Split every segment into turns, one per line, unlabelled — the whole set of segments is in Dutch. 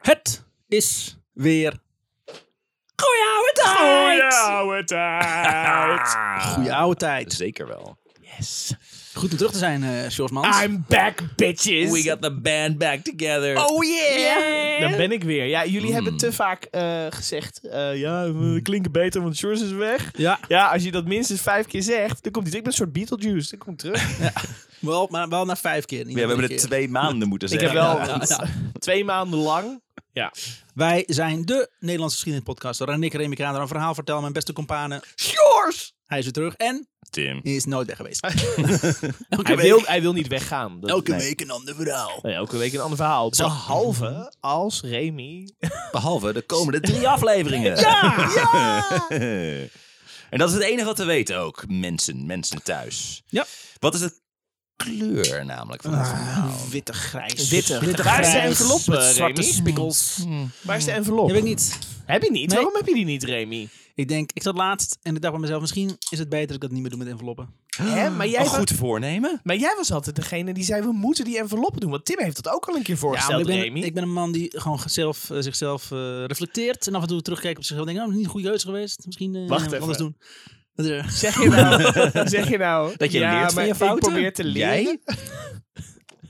Het is weer. Goeie oude tijd!
oude
Goeie oude tijd.
Zeker wel.
Yes. Goed om terug te zijn, eh Sjors Mans.
I'm back, bitches.
We got the band back together.
Oh yeah. Dan ben ik weer. Ja,
Mm.
jullie hebben te vaak eh, gezegd, eh, ja, we klinken beter, want George is weg.
Ja,
Ja, als je dat minstens vijf keer zegt, dan komt hij terug. Ik ben een soort Beetlejuice. Dan komt hij terug.
wel, maar wel na vijf keer. Niet
Ja, we
één
hebben het
keer.
twee maanden moeten
Ik
zeggen.
heb wel
ja, ja, ja.
twee maanden lang. Ja.
Wij zijn de Nederlandse geschiedenispodcast. waarin ik, Remy Kramer, een verhaal vertel. Mijn beste kompanen.
George!
Hij is weer terug en
Tim.
is nooit weg geweest.
Hij wil, hij wil niet weggaan. Dat-
Elke
nee.
week Mhm. een ander verhaal.
Nee, elke week een ander verhaal. Behalve als Remy
Behalve de komende drie afleveringen.
Ja!
en dat is het enige wat we weten ook. Mensen, mensen thuis.
Ja.
Wat is de kleur namelijk van het
Ah.
verhaal?
Oh, Witte grijs.
Witte
Witte
Waar is de
grijs.
envelop,
Met
eh,
zwarte
Remy?
spiegels.
Waar is de envelop?
Heb ik niet.
Heb je niet?
Nee.
Waarom heb je die niet, Remy?
Ik denk, ik zat laatst en ik dacht bij mezelf, misschien is het beter dat ik dat niet meer doe met enveloppen.
Hè? Maar, jij
Oh,
Een
was,
goed voornemen?
maar jij was altijd degene die zei, we moeten die enveloppen doen. Want Tim heeft dat ook al een keer
ik
voorgesteld,
ben,
Remy.
ik ben een man die gewoon zelf, eh, zichzelf eh, reflecteert en af en toe terugkijkt op zichzelf en denkt, oh, niet een goede keus geweest. Misschien eh,
Wacht
wat
even.
anders doen. Dat is er.
Zeg je nou, zeg je nou
Dat je
ja,
leert van
maar
je
Ik
fouten?
probeer te leren.
Jij?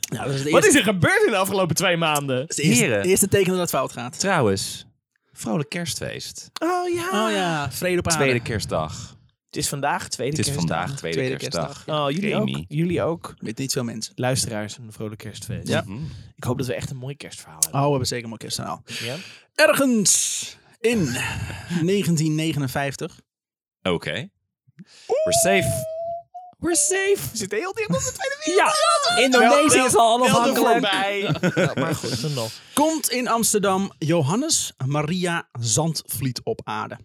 Nou, dat is het
Wat
eerste,
is er gebeurd in de afgelopen twee maanden?
dat is het eerste-
Heren.
eerste teken dat het fout gaat.
Trouwens, vrolijk kerstfeest.
Oh ja.
Oh ja, vrede op aarde.
Tweede kerstdag.
Het is vandaag, tweede
Het is
Ah, kerstdag.
vandaag tweede,
Tweede
kerstdag.
Oh, jullie ook.
Remy.
Jullie ook.
Met niet veel mensen.
Luisteraars, een vrolijk kerstfeest.
Ja.
Mhm.
Ik hoop dat we echt een mooi kerstverhaal hebben.
Oh, we hebben zeker een mooi kerstkanaal.
Ja?
Ergens in 1959.
Oké. We're safe. We're safe.
We zitten heel dicht op de tweede
Ja,
Wel-
Indonesië
wel-
is al
wel er
onafhankelijk.
voorbij. Ja, maar goed, dan nog.
Komt in Amsterdam Johannes Maria Zandvliet op aarde.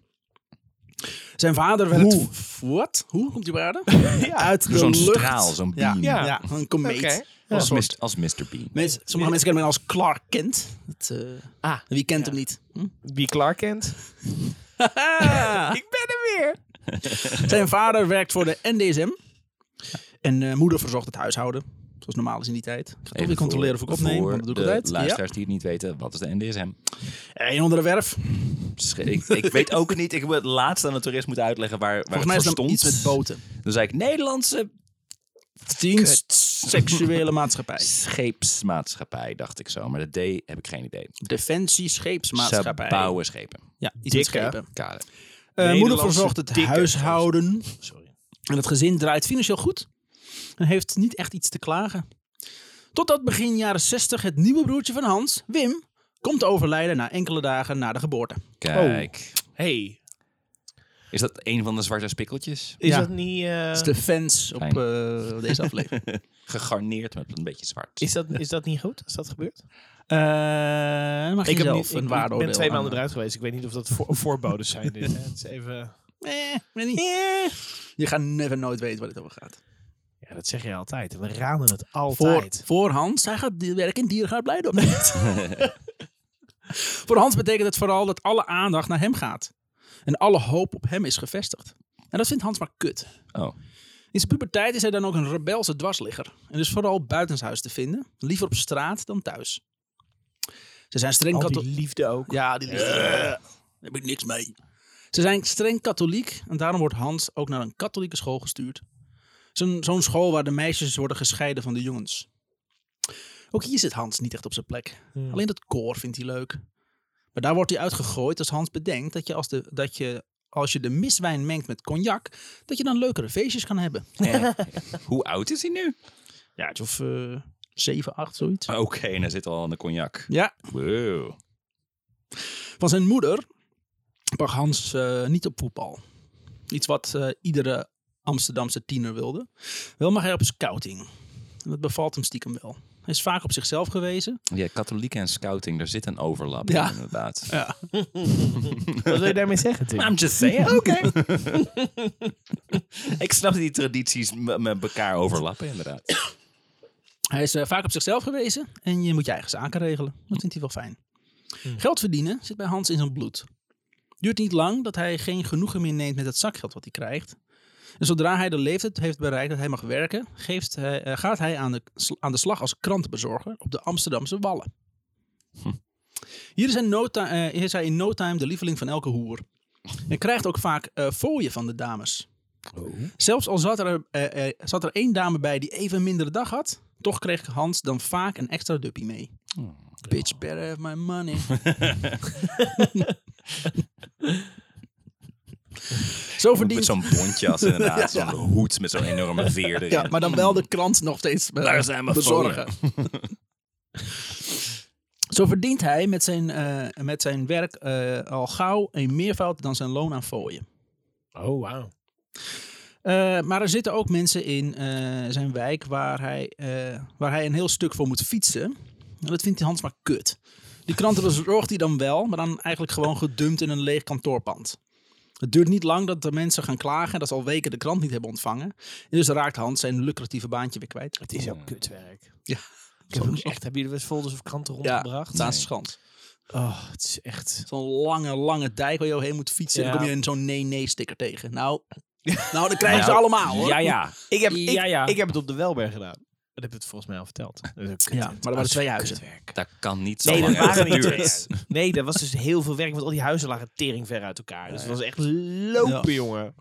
Zijn vader werd...
Hoe?
Wat? Hoe komt hij op aarde?
Ja.
Uit de
Zo'n
lucht.
straal, zo'n beam.
Ja,
Ja.
ja, een komeet.
Oké.
Een
Als,
soort-
mis- als Mr. Bean.
Mensen- sommige mensen kennen hem als Clark Kent. Het, eh,
Ah,
wie kent hem niet? Hm?
wie Clark kent. Ik ben er weer.
Zijn vader werkt voor de NDSM. En eh, moeder verzorgt het huishouden. Zoals normaal is in die tijd. Ik ga toch weer
Even
controleren of
voor-
ik opneem.
voor
Want dat doe ik
de
altijd. Ja.
luisteraars die het niet weten, wat is de NDSM?
Een onder de werf.
Sch- Ik, ik weet ook niet, ik heb het laatst aan een toerist moeten uitleggen waar, waar
Volgens mij
het
is
voor
het dan
stond.
iets met boten.
Dan zei ik Nederlandse
Dienst seksuele maatschappij.
scheepsmaatschappij, dacht ik zo. Maar de D heb ik geen idee.
Defensie scheepsmaatschappij.
Ze bouwen schepen.
Ja, iets
Dikke.
met schepen.
Kader.
Eh, moeder
Nederlandse
verzorgt het
dikke
huishouden.
Sorry.
En het gezin draait financieel goed. En heeft niet echt iets te klagen. Totdat begin jaren 60 het nieuwe broertje van Hans, Wim, komt te overlijden na enkele dagen na de geboorte.
Kijk.
Hey,
Is dat een van de zwarte spikkeltjes?
is
Ja.
dat niet... eh,
Dat is de fans op
Fijn.
eh, deze aflevering.
Gegarneerd met een beetje zwart.
Is dat, is dat niet goed als dat gebeurt?
Eh, dan mag je zelf
ik
een
ik
waardeoordeel
ben twee
aan- eh.
maanden eruit geweest. Ik weet niet of dat voor, voorbodes zijn. Dit, hè. Het is even...
Eh, weet niet. Je gaat never nooit weten waar het over gaat.
Ja, dat zeg je altijd. We raden het
Voor,
altijd.
voor Hans, hij gaat die- werken in dierengaard Blijdorp. Nee. voor Hans betekent het vooral dat alle aandacht naar hem gaat. En alle hoop op hem is gevestigd. En dat vindt Hans maar kut.
Oh.
In zijn puberteit is hij dan ook een rebelse dwarsligger. En is vooral buitenshuis te vinden. Liever op straat dan thuis. Ze zijn streng
Al die
katholiek.
liefde ook.
Ja, die liefde. Daar heb ik niks mee. Ze zijn streng katholiek en daarom wordt Hans ook naar een katholieke school gestuurd. Zo'n zo'n school waar de meisjes worden gescheiden van de jongens. Ook hier zit Hans niet echt op zijn plek.
Hmm.
Alleen dat koor vindt hij leuk. Maar daar wordt hij uitgegooid als Hans bedenkt dat je als, de, dat je, als je de miswijn mengt met cognac, dat je dan leukere feestjes kan hebben.
Eh, Hoe oud is hij nu?
Ja, of eh 7, 8, zoiets.
Oké, en hij zit al aan de cognac.
Ja,
Wow.
Van zijn moeder mag Hans eh, niet op voetbal. Iets wat eh, iedere Amsterdamse tiener wilde. Wel mag hij op scouting. En dat bevalt hem stiekem wel. Hij is vaak op zichzelf gewezen.
Ja, katholiek en scouting, daar zit een overlap
Ja.
in, inderdaad.
Ja.
Wat wil je daarmee zeggen, Tim?
I'm just saying. Oké. ik snap dat die tradities me- met elkaar overlappen, inderdaad.
Hij is eh, vaak op zichzelf gewezen. En je moet je eigen zaken regelen. Dat vindt hij wel fijn. Geld verdienen zit bij Hans in zijn bloed. Duurt niet lang dat hij geen genoegen meer neemt met het zakgeld wat hij krijgt. En zodra hij de leeftijd heeft bereikt dat hij mag werken, geeft hij, eh, gaat
Hm.
hij aan de, aan de slag als krantenbezorger op de Amsterdamse Wallen. Hier is hij, no ti- eh, hier is hij in no time de lieveling van elke hoer. En krijgt ook vaak eh fooien van de dames.
Oh.
Zelfs al zat er, eh, eh, zat er één dame bij die even een mindere dag had, toch kreeg Hans dan vaak een extra duppie mee.
Oh,
Bitch, better have my money. Zo
Met
verdient.
zo'n bontjas inderdaad. Zo'n hoed met zo'n enorme veer erin.
Ja, maar dan wel de krant nog steeds eh,
Daar zijn mijn
bezorgen. Zo verdient hij met zijn, eh, met zijn werk eh, al gauw een meervoud dan zijn loon aan fooien.
Oh, wauw.
Eh, maar er zitten ook mensen in eh, zijn wijk waar hij, eh, waar hij een heel stuk voor moet fietsen. En dat vindt Hans maar kut. Die kranten bezorgt hij dan wel, maar dan eigenlijk gewoon gedumpt in een leeg kantoorpand. Het duurt niet lang dat de mensen gaan klagen dat ze al weken de krant niet hebben ontvangen. En dus raakt Hans zijn lucratieve baantje weer kwijt.
Het is ook kutwerk.
Ja.
Ik heb ook echt, hebben jullie wel eens folders of kranten rondgebracht?
Daan Schans.
Oh, het is echt...
Zo'n lange, lange dijk waar je overheen moet fietsen. En dan
Ja.
kom je een zo'n nee-nee-sticker tegen. Nou, nou, dan krijgen
Nou,
ze allemaal hoor.
Ja, ja.
Ik heb,
Ja,
ik,
ja.
ik heb het op de Welberg gedaan. Dat heb ik het volgens mij al verteld. Dat is ook kut.
Ja, maar er waren twee huizen.
Kutwerk.
Dat kan niet zo
Nee, dat
lang hebben
waren niet twee
geduurd.
huizen. Nee, dat was dus heel veel werk, want al die huizen lagen tering ver uit elkaar. Dus het was echt lopen, jongen.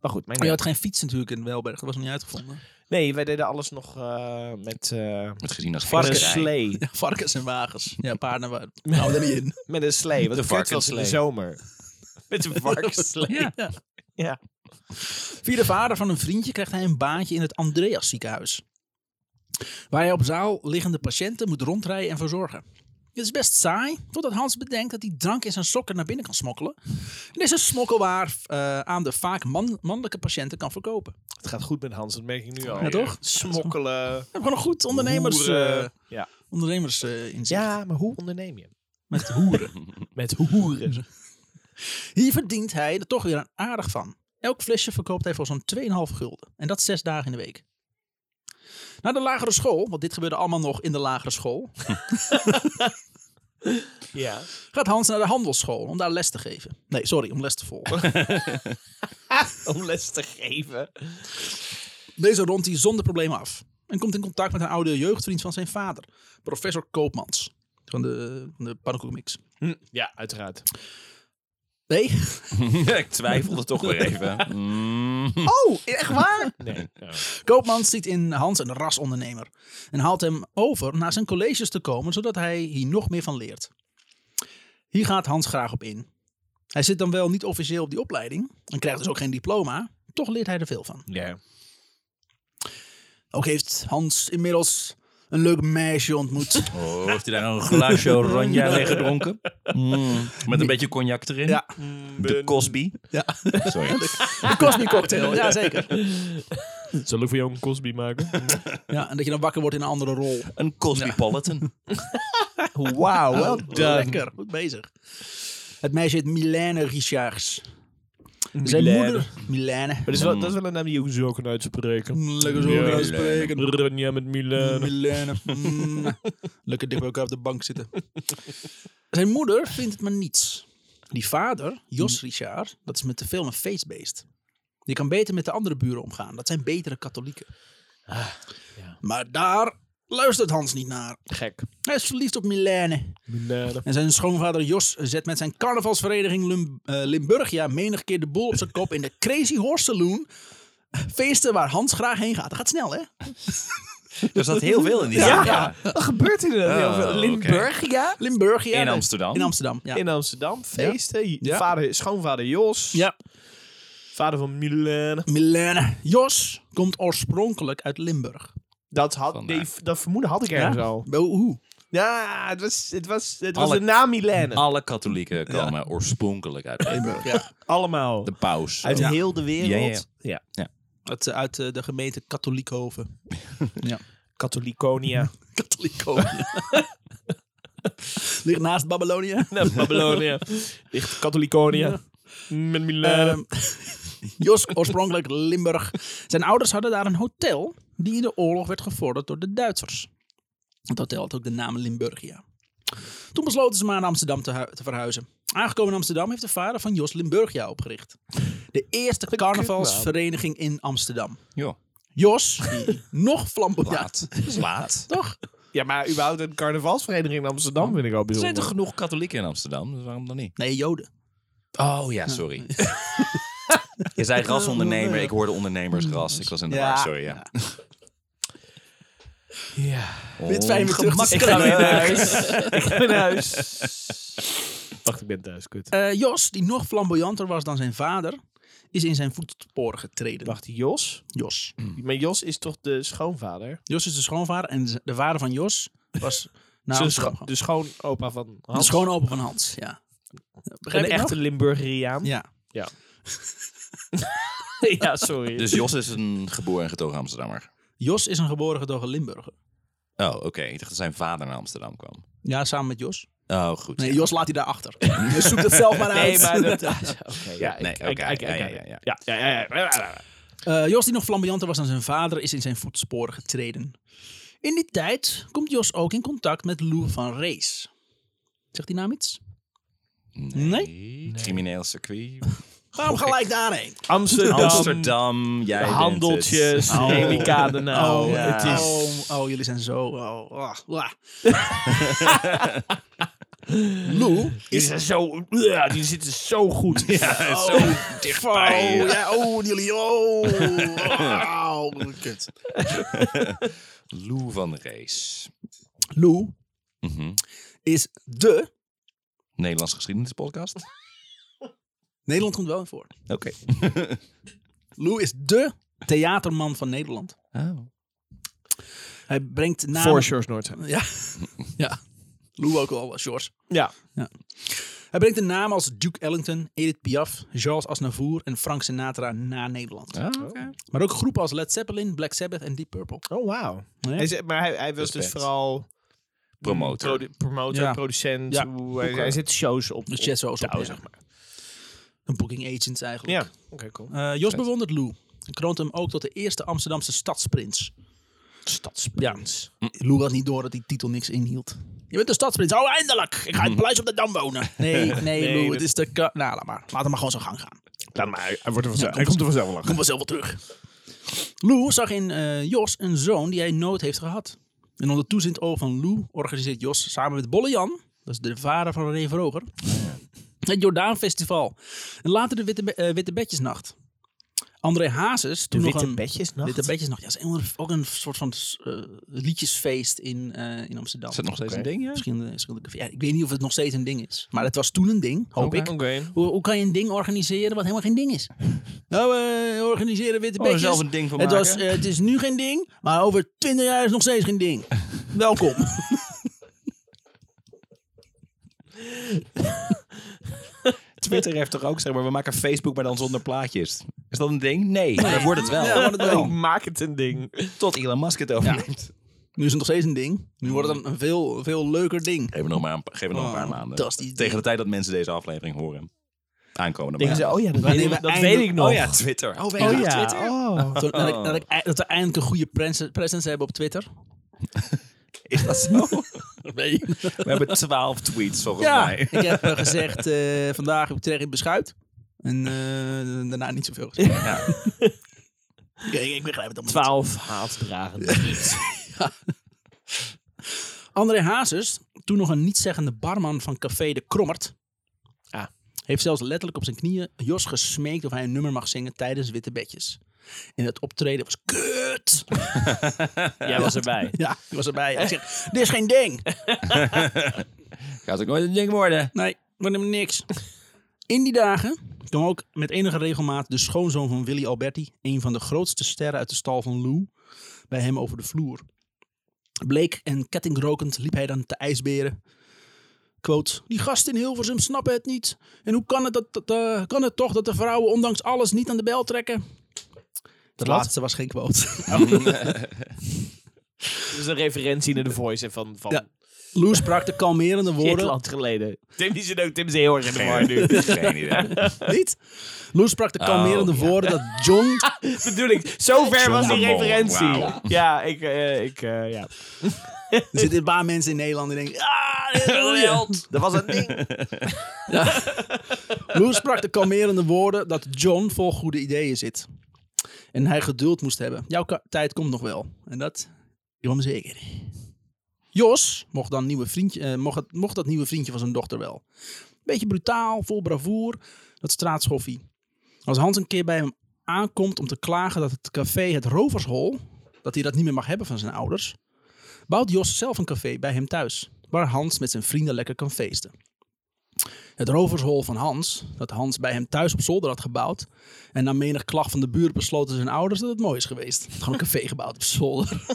Maar goed, mijn
Je had geen fiets natuurlijk in Welberg. Dat was nog niet uitgevonden.
Nee, wij deden alles nog eh, met eh
Wordt gezien als
varken
varkensrij.
slee.
Ja, varkens en wagens. Ja, paarden. wa- Nou, daar niet in.
Met een slee, want
De
de kut was in de
varkensslee.
zomer. Met een varkensslee.
Ja.
Ja.
Via de vader van een vriendje krijgt hij een baantje in het Andreas ziekenhuis. Waar hij op zaal liggende patiënten moet rondrijden en verzorgen. Het is best saai, totdat Hans bedenkt dat hij drank in zijn sokken naar binnen kan smokkelen. En is een smokkelwaar eh, aan de vaak man- mannelijke patiënten kan verkopen.
Het gaat goed met Hans, dat merk ik nu al.
Ja, toch?
Smokkelen.
We hebben gewoon een goed ondernemers,
hoeren.
eh,
ja.
ondernemers eh, inzicht.
ja, maar hoe onderneem je?
Met hoeren.
Met hoeren.
Hier verdient hij er toch weer een aardig van. Elk flesje verkoopt hij voor zo'n 2,5 gulden. En dat zes dagen in de week. Na de lagere school, want dit gebeurde allemaal nog in de lagere school,
Ja.
gaat Hans naar de handelsschool om daar les te geven. Nee, sorry, om les te volgen.
Om les te geven.
Deze rondt hij zonder problemen af. En komt in contact met een oude jeugdvriend van zijn vader, professor Koopmans. Van de, van de pannenkoekmix.
Hm, Ja, uiteraard.
Nee?
ik twijfelde toch weer even. Mm.
Oh, echt waar?
Nee. ja.
Koopmans ziet in Hans een rasondernemer en haalt hem over naar zijn colleges te komen, zodat hij hier nog meer van leert. Hier gaat Hans graag op in. Hij zit dan wel niet officieel op die opleiding en krijgt dus ook geen diploma, toch leert hij er veel van.
Ja.
Ook heeft Hans inmiddels een leuk meisje ontmoet.
Oh, heeft hij daar nou een glaasje oranje mee gedronken? Mm. Met een beetje cognac erin? Mm.
Ja.
De Cosby?
Ja.
Sorry.
Een Cosby cocktail, ja zeker.
Zal ik voor jou een Cosby maken?
Ja, en dat je dan wakker wordt in een andere rol. Oh,
Een Cosmopolitan.
Wauw, wel
Lekker, goed bezig. Het meisje heet Milene Richards. Zijn moeder... Milene.
Maar dat is, wel, dat is wel een naam die je zo kan uitspreken.
Lekker zo
Milène.
uitspreken.
Ronja met
Eh,
Milan.
Milena. Mm. Lekker dicht bij elkaar op de bank zitten. Zijn moeder vindt het maar niets. Die vader, Jos Richard, dat is met te veel een feestbeest. Die kan beter met de andere buren omgaan. Dat zijn betere katholieken. Ah,
ja.
Maar daar luistert Hans niet naar.
Gek.
Hij is verliefd op Milene.
Milan.
En zijn schoonvader Jos zet met zijn carnavalsvereniging Lim- eh, Limburgia menig keer de boel op zijn kop in de Crazy Horse Saloon. Feesten waar Hans graag heen gaat. Dat gaat snel, hè?
Er zat heel veel in die
Ja.
zaak. Ja.
Wat gebeurt hier dan?
Oh, oké.
ja?
Limburgia.
In
dat-
Amsterdam.
In Amsterdam, ja.
In Amsterdam, feesten.
Ja.
Vader, schoonvader Jos.
ja.
Vader van Milan.
Milene. Jos komt oorspronkelijk uit Limburg.
Dat, had,
Vandaar.
die, dat vermoeden had ik ergens al.
Wel, Hoe?
Ja, het was, het was, het was
Alle-
de naam Milan.
Alle katholieken komen oorspronkelijk uit Limburg.
Ja.
Allemaal.
De paus.
Uit
Ja.
heel de wereld.
Ja, ja,
ja.
Uit, eh, uit eh, de gemeente Katholiekhoven. ja.
Katholikonia.
Katholiekhoven. Ligt naast Babylonia.
Nou, Babylonia. Ligt Katholikonia. Met Milan.
Eh.
Ehm, Jos, oorspronkelijk Limburg. Zijn ouders hadden daar een hotel die in de oorlog werd gevorderd door de Duitsers. Het hotel had ook de naam Limburgia. Toen besloten ze maar naar Amsterdam te, hu- te verhuizen. Aangekomen in Amsterdam heeft de vader van Jos Limburgia opgericht. De eerste carnavalsvereniging in Amsterdam.
Ja.
Jos, die nog flamboyant.
Laat. Laat.
Toch?
Ja, maar überhaupt een carnavalsvereniging in Amsterdam vind ik al
Er zijn
bijzonder.
toch genoeg katholieken in Amsterdam? Dus waarom dan niet?
Nee, Joden.
Oh ja, sorry. Je zei rasondernemer, ik hoorde ondernemersras. Ik was in de
Ja.
war, sorry. Mm. Ja.
Ja.
Dit fijn weer terug te
Ik ga weer
schrijven.
Ongemakkelijk.
naar huis. ik ben naar huis. Wacht, ik ben thuis, kut.
Eh, Jos, die nog flamboyanter was dan zijn vader, is in zijn voetsporen getreden.
Wacht, Jos?
Jos.
Maar Jos is toch de schoonvader?
Jos is de schoonvader en de vader van Jos was
Zijn
nou,
scho- de schoonopa van Hans?
de schoonopen van Hans. Ja. Begrijp
een
je het
echte Limburgeriaan?
nog? Ja.
Ja, sorry.
Dus Jos is een geboren en getogen Amsterdammer.
Jos is een geboren getogen Limburger.
Oh, oké. Ik dacht dat zijn vader naar Amsterdam kwam.
Ja, samen met Jos.
Oh, goed.
Nee, Jos laat hij daar achter. Dus zoek dat zelf maar uit.
Nee, maar dat... ah, Oké, ja,
Nee,
ik- ik-
oké,
ik-
ja,
ik-
ja,
ik-
ja, ja.
ja, ja, ja.
Eh, Jos, die nog flamboyanter was dan zijn vader, is in zijn voetsporen getreden. In die tijd komt Jos ook in contact met Lou van Rees. Zegt die naam iets?
Nee. Crimineel circuit.
Waarom gelijk daarheen?
Amsterdam,
Amsterdam, Oh. jij bent het.
handeltjes, Remicade nou.
Oh,
Het is...
oh, oh, jullie zijn zo. Oh, ah, ah. Lou
Die zijn zo, ja, die zitten zo goed.
Ja, zo dichtbij.
Oh, ja, oh, jullie. Oh, oh, kut.
Lou van Rees.
Lou
Mhm.
is de.
Nederlands geschiedenispodcast.
Nederland komt wel in voor.
Oké.
Lou is de theaterman van Nederland.
Oh.
Hij brengt namen.
Voor Shores Noord.
Ja. ja. Lou ook al, Shores.
Ja.
Hij brengt de namen als Duke Ellington, Edith Piaf, Charles Aznavour en Frank Sinatra naar Nederland.
Ah,
Maar ook groepen als Led Zeppelin, Black Sabbath en Deep Purple.
Oh, wauw.
Ja.
Hij is- Maar hij, hij was
Respect.
dus vooral...
Promotor.
Produ- promotor,
Ja.
producent.
Ja.
hoe- hij, hij zet shows op.
Dus Jet Shows op,
touw,
ja.
zeg maar.
Een booking agent eigenlijk.
Ja, oké, cool.
Eh, Jos bewondert Lou. En kroont hem ook tot de eerste Amsterdamse stadsprins. Stadsprins. Ja. Lou had niet door dat die titel niks inhield. Je bent de stadsprins. Oh, eindelijk! Ik ga in het paleis op de Dam wonen. Nee, nee, Lou.
dat-
Het is de... ka- Nou, laat maar. Laat hem maar gewoon zijn gang gaan.
Laat maar, hij, hij wordt er vanzelf,
hij komt
er vanzelf wel
Kom wel zelf wel terug. Lou zag in eh, Jos een zoon die hij nooit heeft gehad. En onder toezicht oog van Lou organiseert Jos samen met Bolle Jan, dat is de vader van René Vroger, het Jordaanfestival. En later de Witte, Be- eh, Witte Bedjesnacht. André Hazes, toen nog een...
bedjes nog?
Witte Bedjesnacht, ja, is een- ook een soort van eh, liedjesfeest in, eh, in Amsterdam.
Is dat nog steeds
Oké.
een ding, ja?
Verschillende, verschillende- ja, ik weet niet of eh, het nog steeds een ding is, maar het was toen een ding, hoop ik.
Oké.
Hoe, hoe kan je een ding organiseren wat helemaal geen ding is? Nou, we organiseren witte
Oh, er
bedjes.
zelf een ding van
het,
maken.
was, eh, het is nu geen ding, maar over 20 jaar is het nog steeds geen ding. Welkom.
Twitter heeft toch ook, zeg maar, we maken Facebook, maar dan zonder plaatjes. Is dat een ding? Nee, dat wordt het wel.
Ja, wordt het wel.
Ik maak het een ding.
Tot Elon Musk het overneemt.
Nu is het nog steeds een ding. Nu wordt
Hmm.
het een veel, veel leuker ding.
Geef me nog maar een, geef me nog een
Oh,
paar maanden.
fantastisch.
Tegen de tijd dat mensen deze aflevering horen. Aankomende
Denken ze,
maanden.
oh ja, dat,
Wanneer
weet,
we
ik- dat
eindelijk-
weet ik nog.
Oh ja, Twitter. Oh, weet je
Oh
nog
ja,
Twitter?
oh.
Zo, dat, ik, dat, ik, ei- dat we eindelijk een goede presence, presence hebben op Twitter.
Is dat zo? We hebben twaalf tweets volgens
Ja,
mij.
ik heb eh, gezegd, eh, vandaag heb ik terecht in beschuit. En eh, daarna niet zoveel gezegd.
Ja.
Ik, ik begrijp het allemaal. niet.
Twaalf haatdragende
André Hazes, toen nog een nietszeggende barman van Café de Krommert,
Ah.
heeft zelfs letterlijk op zijn knieën Jos gesmeekt of hij een nummer mag zingen tijdens Witte Bedjes. En het optreden was kut.
Jij was erbij.
Ja, ik was erbij. Hij zegt, dit is geen ding.
Gaat ook nooit een ding worden.
Nee, wordt hem niks. In die dagen kwam ook met enige regelmaat de schoonzoon van Willy Alberti, een van de grootste sterren uit de stal van Lou, bij hem over de vloer. Bleek en kettingrokend liep hij dan te ijsberen. Quote, die gasten in Hilversum snappen het niet. En hoe kan het, dat, dat, eh, kan het toch dat de vrouwen ondanks alles niet aan de bel trekken? Dat laatste was geen quote.
Oh,
Dat is een referentie naar de voice hè, van, van
Ja. Lou sprak de kalmerende
dit
woorden.
land geleden. Tim die zit ook, Tim is heel erg in de war nu.
Geen idee.
Niet? Lou sprak de kalmerende
ja.
woorden dat John
Bedoel ik, zo ver was die
John Mol,
referentie.
wauw.
Ja, ik, eh, ik eh, ja.
Er zitten een paar mensen in Nederland die denken... Ah, dit wil je."
Dat was een ding.
Lou sprak de kalmerende woorden dat John vol goede ideeën zit. En hij geduld moest hebben. Jouw ka- tijd komt nog wel. En dat kwam zeker. Jos mocht, dan nieuwe vriendje, eh, mocht, het- mocht dat nieuwe vriendje van zijn dochter wel. Beetje brutaal, vol bravoer, dat straatschoffie. Als Hans een keer bij hem aankomt om te klagen dat het café het Rovershol, dat hij dat niet meer mag hebben van zijn ouders, bouwt Jos zelf een café bij hem thuis, waar Hans met zijn vrienden lekker kan feesten. Het rovershol van Hans, dat Hans bij hem thuis op zolder had gebouwd. En na menig klacht van de buren besloten zijn ouders dat het mooi is geweest. Gewoon een café gebouwd op zolder.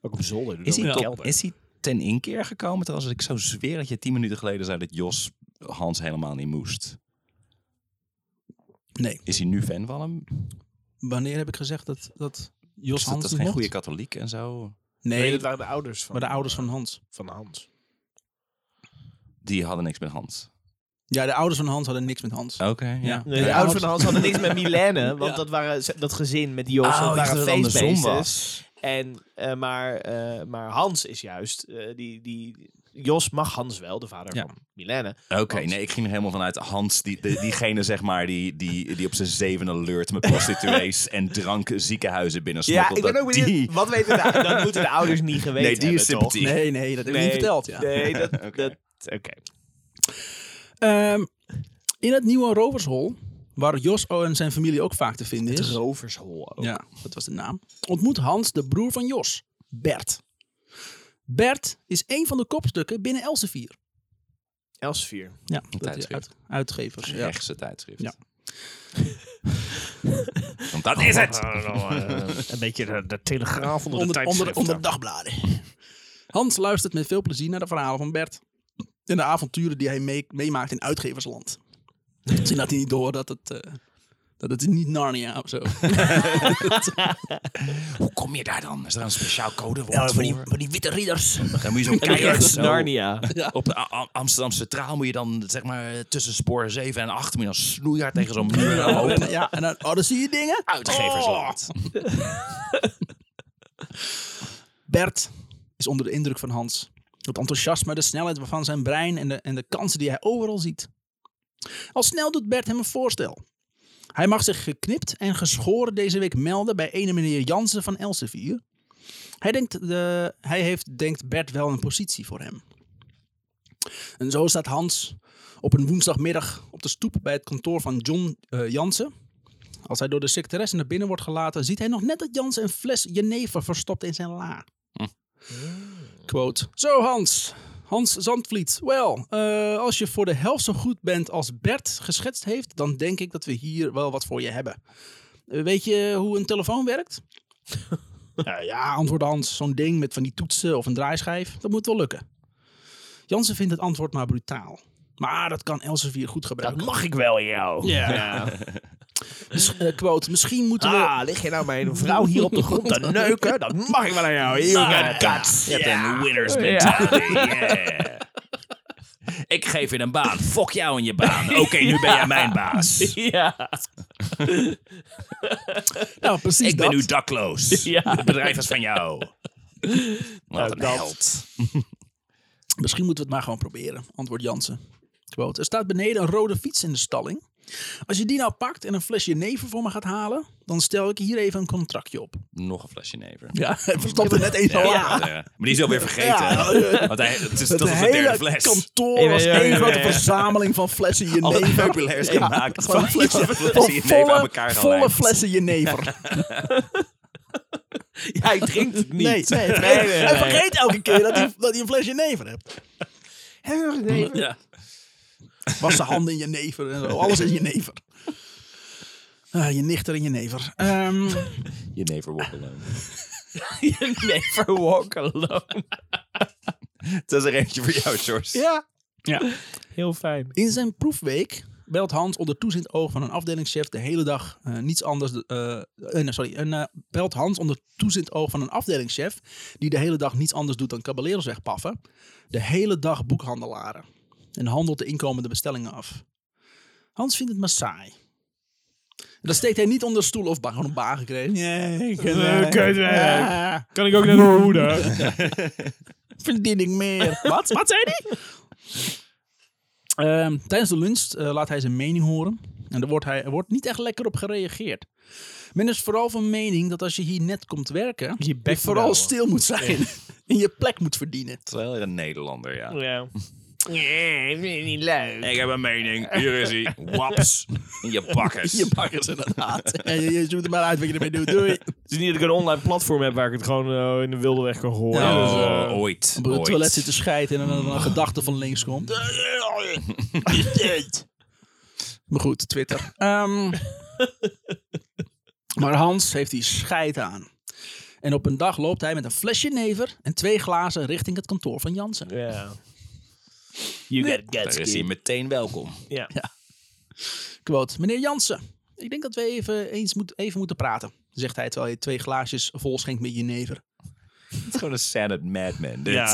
Ook op zolder.
Is hij,
in
tot-
kelder.
is hij ten inkeer gekomen? Trouwens, ik zou zweer dat je tien minuten geleden zei dat Jos Hans helemaal niet moest.
Nee,
Is hij nu fan van hem?
wanneer heb ik gezegd dat, dat Jos
Is dat,
Hans
dat
niet
geen
mocht?
goede katholiek en zo?
Nee,
Nee,
dat waren de ouders van,
maar de ouders van Hans.
van Hans.
Die hadden niks met Hans.
Ja, de ouders van Hans hadden niks met Hans.
Oké,
Ja.
ja.
Nee, de
Ja,
ouders
want-
van Hans hadden niks met Milène, want
Ja.
dat, waren, ze- dat gezin met Jos,
Ah,
dat waren feestbeesten. En, eh, maar, eh, maar Hans is juist, eh, die, die, Jos mag Hans wel, de vader
Ja.
van Milène.
Oké,
Hans.
nee, ik ging er helemaal vanuit Hans, die, de- diegene zeg maar, die, die, die op zijn zevende leurt met prostituees en drank ziekenhuizen binnen
Ja, ik ben ook benieuwd,
Die,
wat weten de, dat moeten de ouders niet geweten
nee, die is
hebben, toch?
sympathiek.
Nee, nee, dat heb ik niet verteld. Ja.
Nee, dat...
Oké.
dat Oké.
Ehm, in het nieuwe rovershol, waar Jos en zijn familie ook vaak te vinden is.
Rovershol ook.
Ja, dat was de naam. Ontmoet Hans de broer van Jos, Bert. Bert is een van de kopstukken binnen Elsevier.
Elsevier.
Ja, dat is
tijdschrift.
uit, uitgevers. Ja.
Rechtse tijdschrift.
Ja.
Want dat is het!
een beetje de, telegraaf onder,
Onder, onder, onder dagbladen. Hans luistert met veel plezier naar de verhalen van Bert. En de avonturen die hij mee- meemaakt in uitgeversland. Misschien had hij niet door dat het, eh, dat het is niet Narnia of zo.
Hoe kom je daar dan? Is er een speciaal codewoord
van,
voor?
die, van die witte ridders.
Dan moet je zo'n keihard
Keihard
zo-
Narnia.
Op de A- A- Amsterdam Centraal moet je dan zeg maar eh, tussen spoor 7 en 8 moet je dan snoeihard tegen zo'n muur aan lopen.
Ja, en dan, oh, dan zie je dingen.
Uitgeversland.
Oh. Bert is onder de indruk van Hans. Het enthousiasme, de snelheid van zijn brein en de, en de kansen die hij overal ziet. Al snel doet Bert hem een voorstel. Hij mag zich geknipt en geschoren deze week melden bij ene meneer Jansen van Elsevier. Hij, denkt de, hij heeft, denkt Bert, wel een positie voor hem. En zo staat Hans op een woensdagmiddag op de stoep bij het kantoor van John eh, Jansen. Als hij door de secretaresse naar binnen wordt gelaten, ziet hij nog net dat Jansen een fles jenever verstopt in zijn la. Quote. Zo Hans. Hans Zandvliet. Wel, eh, als je voor de helft zo goed bent als Bert geschetst heeft, dan denk ik dat we hier wel wat voor je hebben. Eh, weet je hoe een telefoon werkt? Eh, ja, antwoordde Hans. Zo'n ding met van die toetsen of een draaischijf. Dat moet wel lukken. Jansen vindt het antwoord maar brutaal. Maar dat kan Elsevier goed gebruiken.
mag ik wel, jou.
Ja.
Ja.
Miss- eh, quote, misschien moeten we...
Ah, lig je nou met een vrouw hier op de grond te neuken? Dat mag ik wel aan jou.
Ah,
Jongen,
kat. Je hebt een winners
Ja.
mentality. Yeah. Ik geef je een baan. Fok jou in je baan. Oké, nu ben jij mijn baas.
Ja.
Nou, precies
Ik ben
dat.
nu dakloos.
Ja.
Het bedrijf is van jou. Wat
Nou,
een
dat.
held.
Misschien moeten we het maar gewoon proberen, antwoordt Jansen. Quote, er staat beneden een rode fiets in de stalling. Als je die nou pakt en een flesje neven voor me gaat halen, dan stel ik hier even een contractje op.
Nog een flesje never.
Ja, hij verstopt er net één
Ja,
van.
ja. Maar die is alweer vergeten. Want hij, het is, dat
Het
is de derde
hele
fles.
kantoor was
Ja, ja, ja,
één grote
ja, ja.
verzameling van flessen
Alle
jenever.
meubilairs gemaakt.
Gewoon
Van
flessen,
flessen
van
jenever aan
volle,
elkaar
volle
gelijmd.
flessen jenever.
Hij drinkt het niet.
Nee, nee,
nee, nee, nee.
Hij vergeet elke keer dat hij, dat hij een fles jenever hebt.
Nee.
Was zijn handen in jenever en zo. Alles is jenever. Ah, je nichter in jenever. Ehm
Je never walk alone.
You never walk alone.
Dat is er eentje voor jou, George.
Ja.
Ja.
Heel fijn.
In zijn proefweek belt Hans onder toezicht oog van een afdelingschef de hele dag eh, niets anders. eh, eh, nee, sorry, en, eh, belt Hans onder toezicht oog van een afdelingschef die de hele dag niets anders doet dan caballeros wegpaffen. De hele dag boekhandelaren en handelt de inkomende bestellingen af. Hans vindt het maar saai. En dat steekt hij niet onder stoel of ba- gewoon een baan gekregen. Nee, ik
Eh,
eh,
kutwerk.
ja,
Kan ik ook naar de moeder?
verdien ik meer. Wat? Wat zei hij? Ehm, tijdens de lunch eh, laat hij zijn mening horen. En er wordt, hij, er wordt niet echt lekker op gereageerd. Men is vooral van mening dat als je hier net komt werken,
Je bek
je
moet
vooral
houden.
stil moet zijn. in je plek moet verdienen.
Terwijl je een Nederlander, ja.
Ja. Nee, vind je niet leuk.
Ik heb een mening. Hier is hij. Waps. In je bakkers.
Je bakken ze inderdaad. En je, je zoekt er maar uit wat je ermee doet. Doei.
Het is niet dat ik een online platform heb waar ik het gewoon eh, in de wilde weg kan gooien.
Ja.
Dus,
Oh,
eh,
ooit.
Op het
ooit.
toilet zit te scheiden en dan een gedachte van links komt. Maar goed, Twitter. Ehm, maar Hans heeft die scheid aan. En op een dag loopt hij met een flesje never en twee glazen richting het kantoor van Jansen.
ja. You got guts,
Daar is
kid.
hij meteen welkom.
Ja.
Quote, meneer Jansen, ik denk dat we even, eens moet, even moeten praten, zegt hij terwijl hij twee glaasjes vol schenkt met jenever.
Het is gewoon een sad madman, dit.
Ja.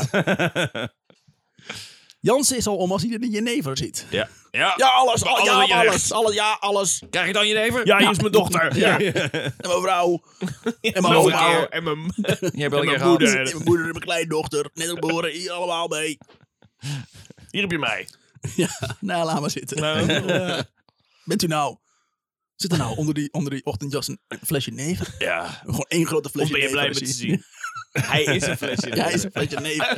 Jansen is al om als hij de jenever ziet.
Ja. Ja.
Ja, alles, al,
Alles
ja,
wat je zegt.
alles, alles, ja, alles.
Krijg ik dan je even?
ja, hier is mijn dochter.
Ja.
Ja.
En mijn vrouw, en mijn
Nog een
oma,
keer. En mijn...
Je hebt wel
En
een keer
mijn
gehad.
moeder.
en mijn moeder en mijn kleindochter, net ook behoren, hier allemaal mee.
Hier heb je mij.
Ja, nou, laat maar zitten.
Nou,
Bent u nou... Zit er nou onder die, onder die ochtendjas een een flesje neven?
Ja.
Gewoon één grote
of
flesje
ben je blij met
neven.
te zien? Hij is een flesje.
Ja, hij is een flesje neven.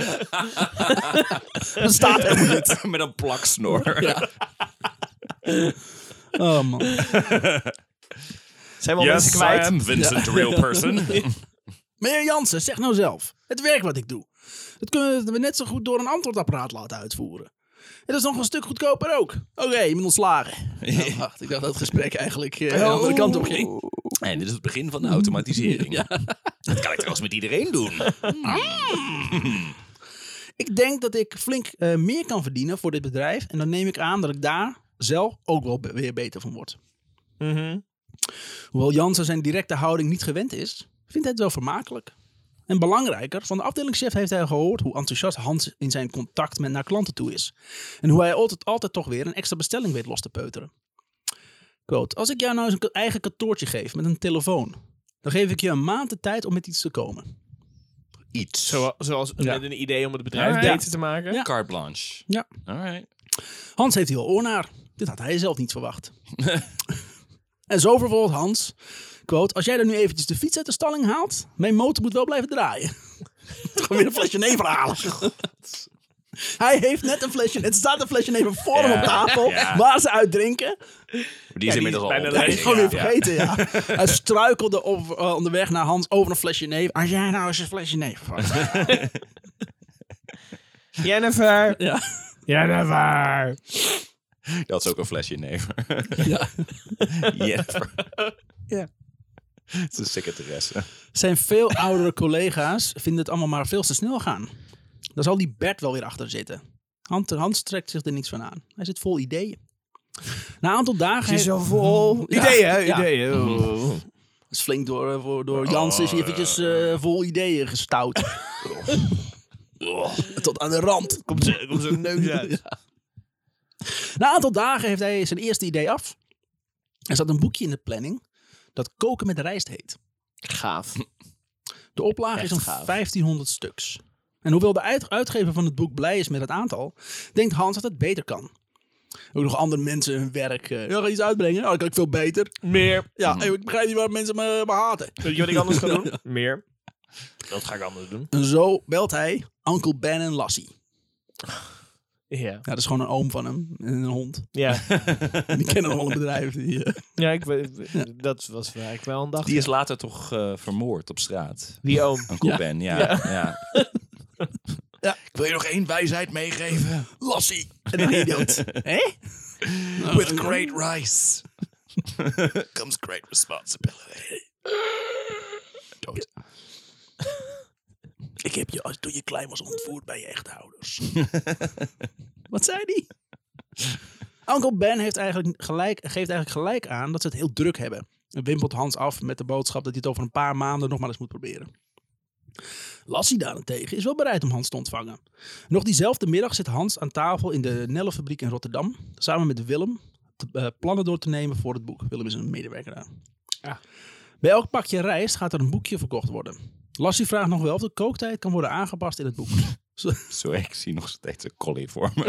Dan staat hij niet.
Met een plaksnor.
Ja. Oh man.
Zijn we al mensen kwijt?
Vincent, the real person.
Meneer Jansen, zeg nou zelf. Het werk wat ik doe. Dat kunnen we net zo goed door een antwoordapparaat laten uitvoeren. Het is nog een stuk goedkoper ook. Oké, je bent ontslagen. Nou, wacht, ik dacht dat het gesprek eigenlijk eh, de andere kant op ging.
En dit is het begin van de automatisering.
Ja.
Dat kan ik trouwens met iedereen doen.
Ik denk dat ik flink eh, meer kan verdienen voor dit bedrijf. En dan neem ik aan dat ik daar zelf ook wel be- weer beter van word.
Mhm.
Hoewel Jansen zijn directe houding niet gewend is, vindt hij het wel vermakelijk. En belangrijker, van de afdelingschef heeft hij gehoord hoe enthousiast Hans in zijn contact met naar klanten toe is. En hoe hij altijd, altijd toch weer een extra bestelling weet los te peuteren. Quote, als ik jou nou eens een ka- eigen kantoortje geef met een telefoon, dan geef ik je een maand de tijd om met iets te komen.
Iets.
Zoals, zoals
Ja.
met een idee om het bedrijf
Ja.
beter te maken.
Ja.
Carte blanche.
Ja.
Alright.
Hans heeft heel oor naar. Dit had hij zelf niet verwacht. en zo vervolgt Hans, quote, als jij er nu eventjes de fiets uit de stalling haalt, mijn motor moet wel blijven draaien. Gewoon weer een flesje never halen. Hij heeft net een flesje, het staat een flesje neven voor hem
Ja,
op tafel,
ja.
waar ze uit drinken.
Die is
die
inmiddels
is
al
bijna
Hij
leeg.
is
ontdekt.
gewoon weer
Ja.
vergeten, ja. Hij struikelde op, eh, onderweg naar Hans over een flesje neef. Als jij nou eens een flesje neef pakt.
Jennifer.
Ja.
Jennifer.
Dat is ook een flesje never.
ja.
Jennifer.
Ja.
Het is een secretaresse.
Zijn veel oudere collega's vinden het allemaal maar veel te snel gaan. Daar zal die Bert wel weer achter zitten. Hans, Hans trekt zich er niks van aan. Hij zit vol ideeën. Na een aantal dagen... heeft-
vol
Ja.
ideeën, hè?
Ja.
Ideeën. Oh.
Mhm.
Dat is flink door, eh, voor, door Jans is hij eventjes eh, vol ideeën gestout. Tot aan de rand.
Komt zo- komt zo'n neus uit.
Ja. Na een aantal dagen heeft hij zijn eerste idee af. Er zat een boekje in de planning dat koken met rijst heet.
Gaaf.
De oplage is
Echt
een
gaaf.
1500 stuks. En hoewel de uit- uitgever van het boek blij is met het aantal, denkt Hans dat het beter kan. Ook nog andere mensen hun werk. eh, ja, ga je iets uitbrengen? Ja, dat kan ik veel beter.
Meer.
Ja,
Mhm.
hey, ik begrijp niet waar mensen me, me haten.
Weet je wat ik anders ga doen? Meer. Dat ga ik anders doen.
En zo belt hij Uncle Ben en Lassie.
Ja.
Ja, dat is gewoon een oom van hem en een hond.
Ja,
En die kennen allemaal een bedrijf. Die, eh,
ja ik, weet- dat was eigenlijk wel een dag.
Die is later toch eh, vermoord op straat.
Die oom.
Uncle
Ja.
Ben, ja.
Ja.
ja.
ja,
Wil je nog één wijsheid meegeven?
Lassie. En dan idioot. Hé? With
great rice comes great responsibility.
Ik heb je, als, toen je klein was, ontvoerd bij je echte ouders. Wat zei die? Uncle Ben heeft eigenlijk gelijk, geeft eigenlijk gelijk aan dat ze het heel druk hebben. En wimpelt Hans af met de boodschap dat hij het over een paar maanden nog maar eens moet proberen. Lassie daarentegen is wel bereid om Hans te ontvangen. Nog diezelfde middag zit Hans aan tafel in de Nellenfabriek in Rotterdam. Samen met Willem te- eh, plannen door te nemen voor het boek. Willem is een medewerker daar.
Ja.
Bij elk pakje rijst gaat er een boekje verkocht worden. Lassie vraagt nog wel of de kooktijd kan worden aangepast in het boek.
Sorry, ik zie nog steeds een collie voor me.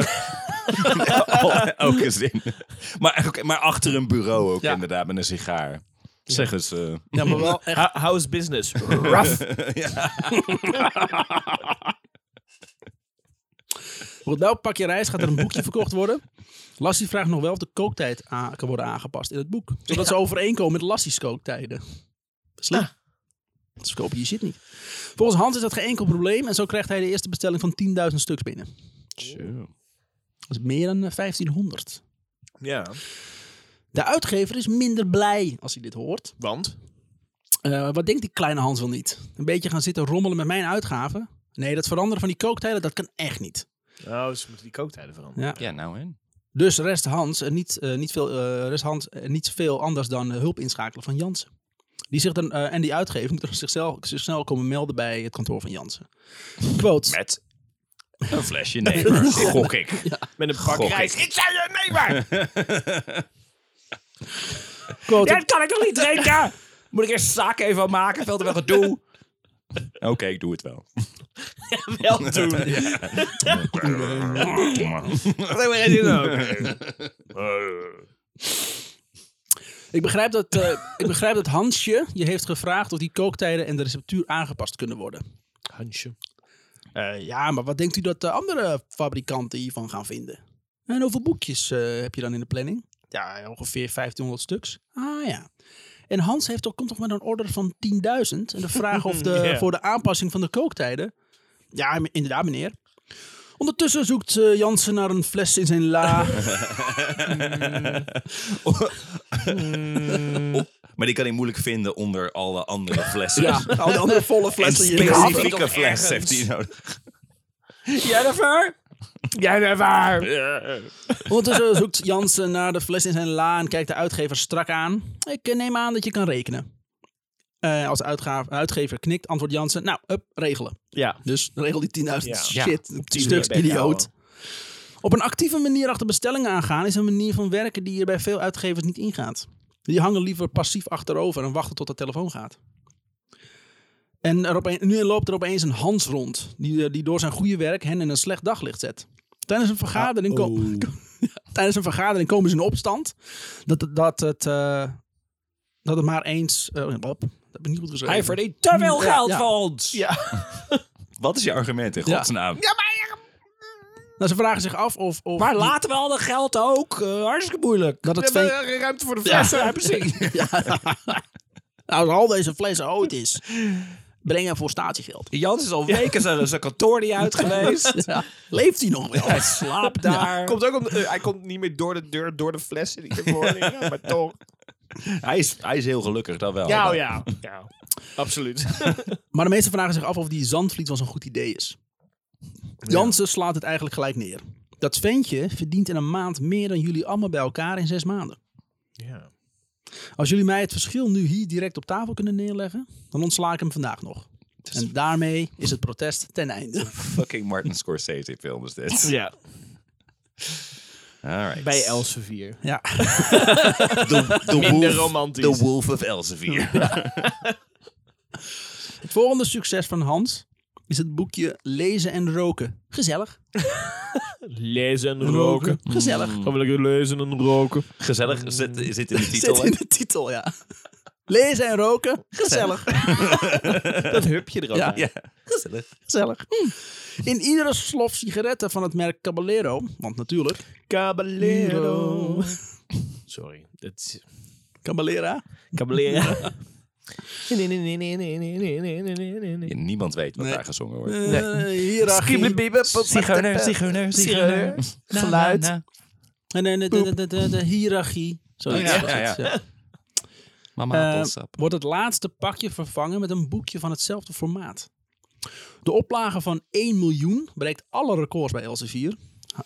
Al- Elke zin. Maar, oké, maar achter een bureau ook
Ja.
inderdaad, met een sigaar. Zeg eens. eh.
Ja, maar wel echt.
Ho- How's business? Rough.
ja.
Goed, nou, pak je reis, gaat er een boekje verkocht worden. Lassie vraagt nog wel of de kooktijd a- kan worden aangepast in het boek. Zodat ze overeenkomen met Lassie's kooktijden. Slim. Dat verkoop je je shit niet. Volgens Hans is dat geen enkel probleem. En zo krijgt hij de eerste bestelling van 10.000 stuks binnen. Dat is meer dan eh, 1500.
ja,
De uitgever is minder blij als hij dit hoort.
want...
Eh, wat denkt die kleine Hans wel niet? Een beetje gaan zitten rommelen met mijn uitgaven? Nee, dat veranderen van die kooktijden, dat kan echt niet.
Oh, ze moeten die kooktijden veranderen.
Ja.
ja, nou hè.
Dus rest Hans, en niet, eh, niet veel, eh, rest Hans eh, niet veel anders dan eh, hulp inschakelen van Jansen. Die zich dan, eh, en die uitgever moet zichzelf, zich snel komen melden bij het kantoor van Jansen. Quote.
Met een flesje nemer, gok ik.
Met een pak
Gok
rijst.
ik.
Ik zou het meemaken!
quote
Dat kan ik toch niet drinken? Moet ik eerst zaken even aan maken? Veel te veel gedoe. Oké, ik doe het wel.
Wel doen. Wat hebben we in
Ik begrijp, dat, eh, ik begrijp dat Hansje je heeft gevraagd of die kooktijden en de receptuur aangepast kunnen worden.
Hansje.
Eh, ja, maar wat denkt u dat de andere fabrikanten hiervan gaan vinden? En hoeveel boekjes eh, heb je dan in de planning? Ja, ongeveer 1500 stuks. Ah ja. En Hans heeft toch, komt toch met een order van 10.000? En de vraag of de,
Ja.
voor de aanpassing van de kooktijden. Ja, m- inderdaad, meneer. Ondertussen zoekt eh, Jansen naar een fles in zijn la.
Maar die kan hij moeilijk vinden onder alle andere flessen.
ja, al die andere volle
Een
flessen. die je gehad hebt.
specifieke fles heeft hij nodig.
Jennifer? Jennifer!
Ondertussen zoekt Jansen naar de fles in zijn la en kijkt de uitgever strak aan. Ik eh, neem aan dat je kan rekenen. Eh, als de uitga- uitgever knikt, antwoordt Jansen: Nou, up, regelen.
Ja.
Dus regel die 10.000
Ja.
shit,
die
stuks
manier ben je
idioot. Op een actieve manier achter bestellingen aangaan is een manier van werken die er bij veel uitgevers niet ingaat. Die hangen liever passief achterover en wachten tot de telefoon gaat. En er opeen- nu loopt er opeens een Hans rond, die, eh, die door zijn goede werk hen in een slecht daglicht zet. Tijdens een vergadering, ko-
Ah, oh.
tijdens een vergadering komen ze in opstand. Dat, dat, het, eh, dat het maar eens. eh, op, dat ben ik niet goed gezegd.
Hij verdient te veel
Ja,
geld
ja.
van ons.
Wat is je argument in
Ja.
godsnaam?
Nou, ze vragen zich af of. of
Maar
die-
laten we al dat geld ook. eh, hartstikke moeilijk.
dat het
We hebben
twee.
geen ruimte voor de flessen. Ja, precies.
Nou, Als al deze flessen ooit is. Brengen voor statiegeld.
Jans is al weken zijn zijn kantoor niet uit geweest.
Ja. Leeft hij nog wel?
Hij slaapt daar.
Komt ook om, eh, hij komt niet meer door de deur, door de flessen die ervoor liggen, maar toch.
Hij is, hij is heel gelukkig, dat wel.
Ja, oh ja. ja. Absoluut.
Maar de meesten vragen zich af of die zandvliet wel zo'n goed idee is. Jansen slaat het eigenlijk gelijk neer. Dat ventje verdient in een maand meer dan jullie allemaal bij elkaar in zes maanden.
Ja.
Als jullie mij het verschil nu hier direct op tafel kunnen neerleggen, dan ontsla ik hem vandaag nog. En daarmee is het protest ten einde.
Fucking Martin Scorsese film is dit.
ja.
Alright.
Bij Elsevier.
Ja.
The, the
Minder
wolf,
romantisch.
The Wolf of Elsevier.
Het volgende succes van Hans is het boekje Lezen en Roken. Gezellig.
Lezen en roken. Mm.
Gezellig.
Gaan we lekker lezen en roken.
Gezellig zit, zit in de titel.
Zit in de titel, ja. Lezen en roken. Gezellig.
Dat hupje er ook
Ja.
aan.
Ja, gezellig.
Gezellig. Hm. In iedere slof sigaretten van het merk Caballero, want natuurlijk,
Caballero. Sorry. Dat is...
Caballera,
Caballero. Nee, nee, nee, nee, nee, nee, nee, nee, nee, nee, nee.
Ja, niemand weet wat
Nee.
daar gezongen wordt.
eh hiërarchie.
Zigeuner, zigeuner, zigeuner. Geluid.
En eh, de, de, de, de, de hiërarchie. Zoiets.
Ja, ja, ja.
Ja.
Mama
Eh, wordt het laatste pakje vervangen met een boekje van hetzelfde formaat. De oplage van 1 miljoen bereikt alle records bij Elsevier.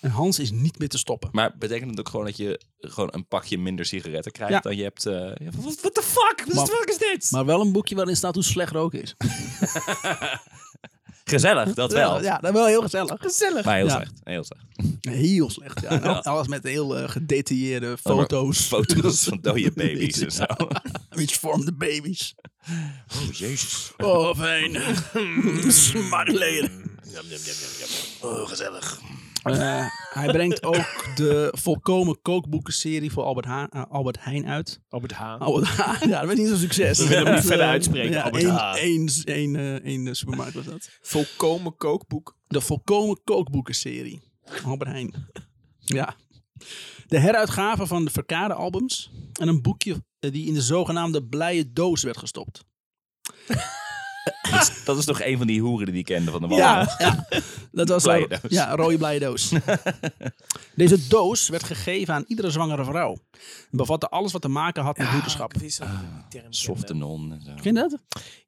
En Hans is niet meer te stoppen.
Maar betekent het ook gewoon dat je gewoon een pakje minder sigaretten krijgt
Ja.
dan je hebt... eh, ja, wat-
What the fuck? Wat
Maar-
fuck is dit?
Maar wel een boekje waarin staat hoe slecht roken is.
gezellig, dat wel.
Ja, dat wel heel gezellig. Gezellig.
Maar heel
Ja.
slecht. Heel slecht.
Heel slecht, ja. En Alles met heel eh, gedetailleerde foto's.
Foto's van dode baby's en zo.
Which form the babies.
Oh, jezus.
Oh, fijn. Smakelijk.
Mm, Yum, yum, yum, yum, yum.
Oh, gezellig.
Eh, hij brengt ook de volkomen kookboekenserie voor Albert, Haan- eh, Albert Heijn uit.
Albert H.
Albert Heijn, ja, dat werd niet zo'n succes.
We willen hem niet
Eh,
verder uitspreken,
Ja,
Albert Heijn.
één, één, eh, één, eh, supermarkt was dat.
Volkomen kookboek.
De volkomen kookboekenserie. Albert Heijn. Ja. De heruitgave van de verkade albums. En een boekje eh, die in de zogenaamde blije doos werd gestopt.
Dat is, dat is toch een van die hoeren die ik kende van de wal.
ja. Dat was
Blije
een-
doos.
Ja, een rode blije doos. Deze doos werd gegeven aan iedere zwangere vrouw. En bevatte alles wat te maken had met moederschap.
Ah, Ik wist dat ik die term kende.
Softenon en zo.
Ken je dat?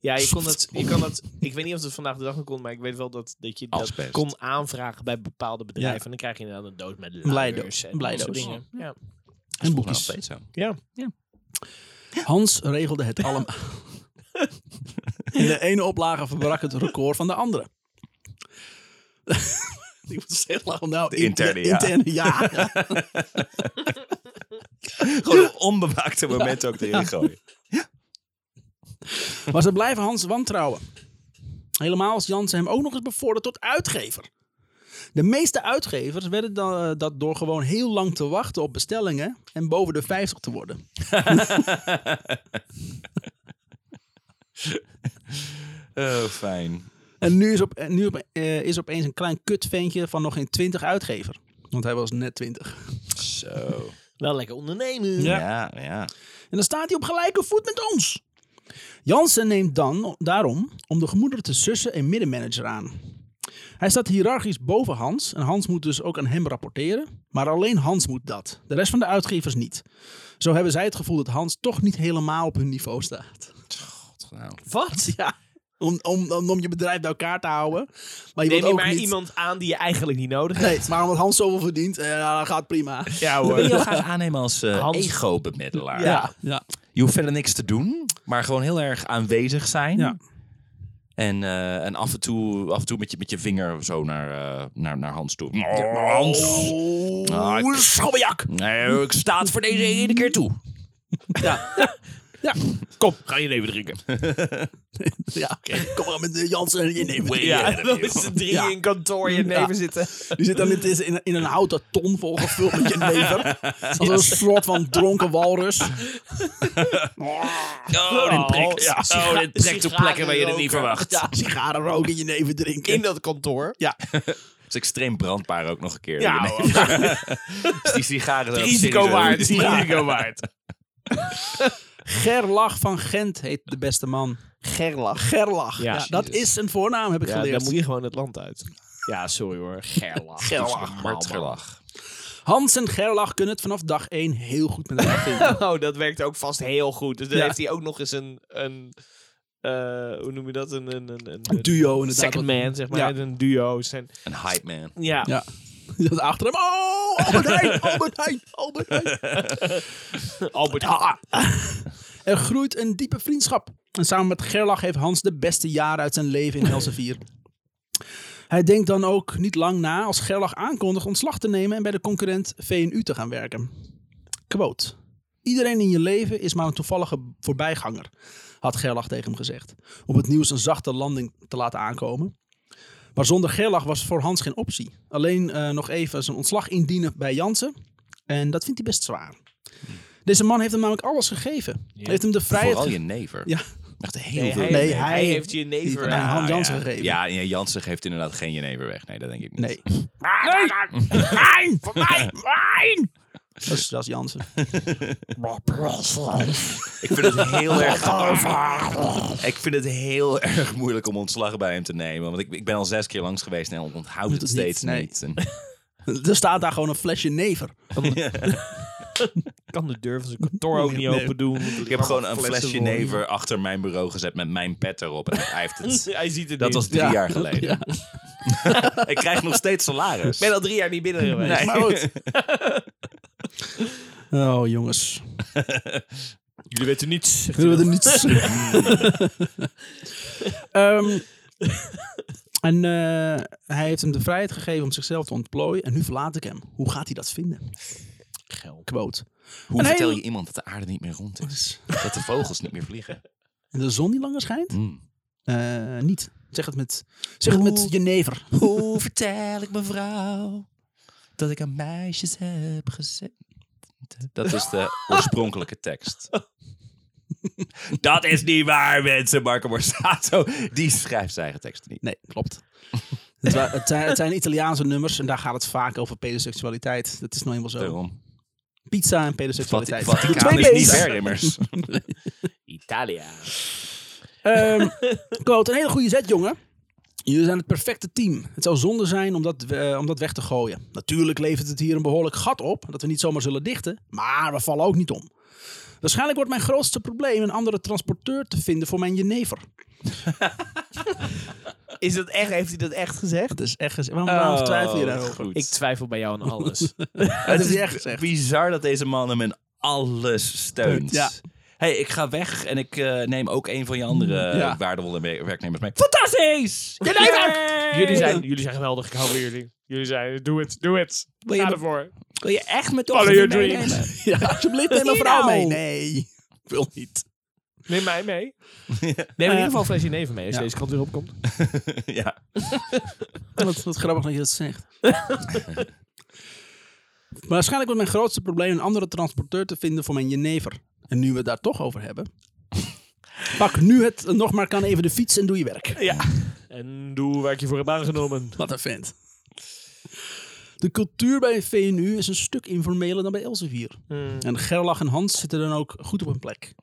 Ja, je, kon dat, je kan dat. Ik weet niet of het vandaag de dag nog kon, maar ik weet wel dat, dat je dat
Asbest.
kon aanvragen bij bepaalde bedrijven.
Ja.
En dan krijg je inderdaad een doos met
Blijdoos.
luiers en dat soort
Blijdoos.
dingen. Ja.
En
Nou,
boekjes.
steeds zo.
ja.
Hans regelde het allemaal. In de ene oplage verbrak het record van de andere. Ik moet steeds lachen. Nou, de
interne, ja.
interne ja.
Gewoon een onbewaakte momenten ook erin gooien.
Maar ze blijven Hans wantrouwen. Helemaal als Jansen hem ook nog eens bevorderd tot uitgever. De meeste uitgevers werden dan, eh, dat door gewoon heel lang te wachten op bestellingen en boven de 50 te worden.
Oh, fijn.
En nu is, op, en nu op, eh, is opeens een klein kutventje van nog geen 20 uitgever. Want hij was net 20.
Zo.
Wel lekker ondernemen.
Ja, ja. ja.
En dan staat hij op gelijke voet met ons. Jansen neemt dan daarom om de gemoederen te sussen een middenmanager aan. Hij staat hiërarchisch boven Hans en Hans moet dus ook aan hem rapporteren. Maar alleen Hans moet dat, de rest van de uitgevers niet. Zo hebben zij het gevoel dat Hans toch niet helemaal op hun niveau staat.
God, nou.
Wat?
Ja, om, om, om, om je bedrijf bij elkaar te houden. Maar je
Neem
wilt
je
ook
maar
niet...
iemand aan die je eigenlijk niet nodig hebt.
Nee, maar omdat Hans zoveel verdient, eh, nou, dat gaat prima.
Ja
Dat wil je
hoor.
heel graag aannemen als eh
Hans.
ego-bemiddelaar.
Ja, ja.
Je hoeft verder niks te doen, maar gewoon heel erg aanwezig zijn.
Ja.
En, eh, en af en toe, af en toe met, je, met je vinger zo naar, eh, naar, naar Hans toe. Oh, Hans! Ah, ik-
Schobbejak!
Nee, ik sta het voor deze ene keer toe.
Ja,
Kom, ga je even drinken.
ja. kom maar met eh, Jansen en je neemt
Ja, dan is de drie
Ja.
in kantoor je neven zitten.
Die zit dan in, in, in een houten ton volgevuld met je never. Als een soort van dronken walrus.
Oh, dit prikt.
ja.
Oh, dit prikt op
Sigaren
plekken waar je het
roken.
niet verwacht.
Ja, sigaren roken, je neven drinken.
In dat kantoor.
Ja,
Het is extreem brandbaar ook nog een keer.
Ja,
Nee,
hoor.
dus die sigaren zijn
Risico waard.
serieus.
Risico waard.
Gerlach van Gent heet de beste man.
Gerlach.
Gerlach.
Ja,
Ja, dat
Jezus.
is een voornaam, heb ik
Ja,
geleerd.
dan moet je gewoon het land uit. Ja, sorry hoor. Gerlach.
Gerlach.
Hartgelach.
Hans en Gerlach kunnen het vanaf dag 1 heel goed met elkaar vinden.
Oh, dat werkt ook vast heel goed. Dus dan
Ja.
heeft hij ook nog eens een... een eh, hoe noem je dat? Een, een, een, een,
Een duo inderdaad.
second man, zeg maar.
Ja.
Een duo. Zijn,
Een hype man.
ja.
Ja. Die zat achter hem. Oh, Albert Heijn, Albert Heijn, Albert Heijn.
Albert
Er groeit een diepe vriendschap. En samen met Gerlach heeft Hans de beste jaren uit zijn leven in Elsevier. Hij denkt dan ook niet lang na als Gerlach aankondigt ontslag te nemen en bij de concurrent VNU te gaan werken. Quote. Iedereen in je leven is maar een toevallige voorbijganger, had Gerlach tegen hem gezegd. Om het nieuws een zachte landing te laten aankomen. Maar zonder Gerlach was voor Hans geen optie. Alleen eh, nog even zijn ontslag indienen bij Jansen. En dat vindt hij best zwaar. Deze man heeft hem namelijk alles gegeven. Heeft hem de vrijheid
Vooral
ge-
je never.
Ja.
Echt heel veel.
hij,
Nee,
hij
hij-
heeft je
die
never.
aan
Ja.
Hans Jansen
ja.
gegeven.
Ja, en Jansen geeft inderdaad geen jenever weg. Nee, dat denk ik niet.
Nee.
Mijn, voor mij, mijn.
Dat is, dat is Jansen.
Ik vind het heel erg...
Oh,
ik vind het heel erg moeilijk om ontslag bij hem te nemen. Want ik, ik ben al zes keer langs geweest en onthoud het
het
steeds
niet, nee.
niet. En-
er staat daar gewoon een flesje never.
kan de deur van zijn kantoor ook niet
Nee.
open doen.
ik heb gewoon een flesje never achter mijn bureau gezet met mijn pet erop. En hij heeft het...
Hij ziet het
Dat
niet.
was drie
Ja.
jaar geleden. ik krijg nog steeds salaris.
Ik ben al drie jaar niet binnen geweest.
Nee.
Maar goed. Oh, jongens.
Jullie weten niets.
Kunnen we er niets. Ehm, en eh, hij heeft hem de vrijheid gegeven om zichzelf te ontplooien. En nu verlaat ik hem. Hoe gaat hij dat vinden? Quote.
Hoe
Een
vertel
hele-
je iemand dat de aarde niet meer rond is? Dat de vogels niet meer vliegen?
En de zon die langer schijnt?
Hmm.
Eh, niet. Zeg het met, zeg het met jenever.
Hoe vertel ik mevrouw dat ik aan meisjes heb gezet. Dat is de oorspronkelijke tekst. dat is niet waar, mensen. Marco Borsato, die schrijft zijn eigen tekst niet.
Nee, klopt. het, wa- het zijn, het zijn Italiaanse nummers en daar gaat het vaak over pedoseksualiteit. Dat is nou eenmaal zo.
Oh,
Daarom.
Pizza en
Vat-
pedoseksualiteit.
Vaticaan is
Twee
niet
B's.
ver, immers.
Italia.
Ehm Quote, een hele goede zet, jongen. Jullie zijn het perfecte team. Het zou zonde zijn om dat, eh, om dat weg te gooien. Natuurlijk levert het hier een behoorlijk gat op, dat we niet zomaar zullen dichten, maar we vallen ook niet om. Waarschijnlijk wordt mijn grootste probleem een andere transporteur te vinden voor mijn jenever.
Is dat echt, heeft hij dat echt gezegd?
Dat is echt gezegd. Waarom, waarom twijfel je daarover?
Oh, Goed.
Ik twijfel bij jou aan alles.
Dat
Het
is
is
niet echt gezegd.
bizar dat deze man hem in alles steunt.
Ja.
hey, ik ga weg en ik eh, neem ook een van je
Mm,
andere
Ja.
waardevolle wer- werknemers mee. Fantastisch! Je
Jullie zijn, jullie zijn geweldig. Ik hou van jullie. Jullie zijn, doe het, doe het.
Wil je
Ga
me-
ervoor.
Wil je echt mijn
Follow
dochter
your
meenemen?
Ja, alsjeblieft, neem mijn
Hier
vrouw
nou.
mee. Nee, ik wil niet.
Neem mij mee. Eh, Neem in ieder geval Flesje Neven mee dus- als
ja.
deze kant weer opkomt.
ja.
Wat, wat grappig dat je dat zegt. Maar waarschijnlijk wordt mijn grootste probleem een andere transporteur te vinden voor mijn jenever. En nu we het daar toch over hebben. Pak nu het nog maar kan even de fiets en doe je werk.
En doe waar ik je voor heb aangenomen.
Wat een vent. De cultuur bij VNU is een stuk informeler dan bij Elsevier.
Hmm.
En Gerlach en Hans zitten dan ook goed op hun plek.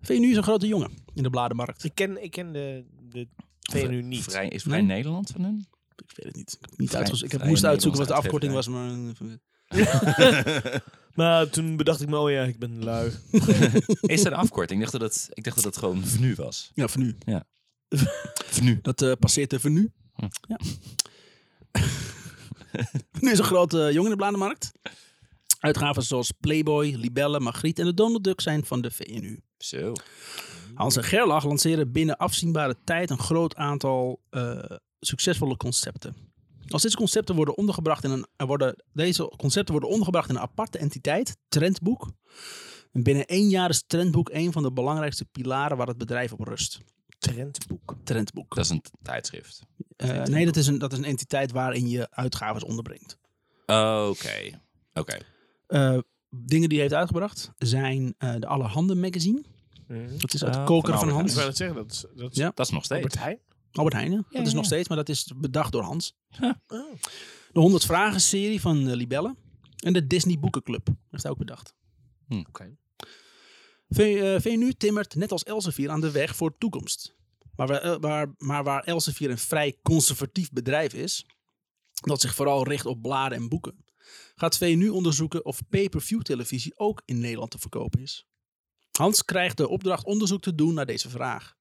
VNU is een grote jongen in de bladenmarkt.
Ik ken, ik ken de, de VNU niet.
Vrij, is Vrij
Nee?
Nederland van hun?
Ik weet het niet. Ik, heb niet
Vrij-
uitgezo- ik heb
vrij
moest uitzoeken wat de
Nederlands
afkorting was. Maar... eh,
Maar toen bedacht ik me, oh ja, ik ben lui.
Is er een afkorting? Ik dacht dat het, ik dacht dat het gewoon VNU was.
Ja, voor nu.
VNU.
Dat eh, passeert even nu. Ja. nu is een grote eh, jongen in de bladenmarkt. Uitgaven zoals Playboy, Libelle, Margriet en de Donald Duck zijn van de VNU.
Zo.
Hans en Gerlach lanceren binnen afzienbare tijd een groot aantal eh, succesvolle concepten. Als deze concepten worden ondergebracht in een, er worden, deze concepten worden ondergebracht in een aparte entiteit, Trendboek. En binnen één jaar is Trendboek een van de belangrijkste pilaren waar het bedrijf op rust.
Trendboek.
Trendboek.
Dat is een tijdschrift.
Eh, nee, dat is, een, dat is een entiteit waarin je uitgaves onderbrengt.
Oké. Oké.
Eh, dingen die hij heeft uitgebracht zijn eh, de Allerhande magazine. Dat is uit de
Ah,
koker Oh, van,
van Albert
Hans.
Ik wou net zeggen, dat is, dat is
Ja.
Dat is nog steeds.
Albert Heijn.
Albert Heijn, hè? dat is nog
ja.
steeds, maar dat is bedacht door Hans.
Oh.
De 100 vragen serie van eh, Libelle. En de Disney Boekenclub. Dat heeft hij ook bedacht.
Hm.
Oké.
V- eh, VNU timmert net als Elsevier aan de weg voor de toekomst. Maar waar, eh, waar, maar waar Elsevier een vrij conservatief bedrijf is, dat zich vooral richt op bladen en boeken, gaat VNU onderzoeken of pay-per-view televisie ook in Nederland te verkopen is. Hans krijgt de opdracht onderzoek te doen naar deze vraag.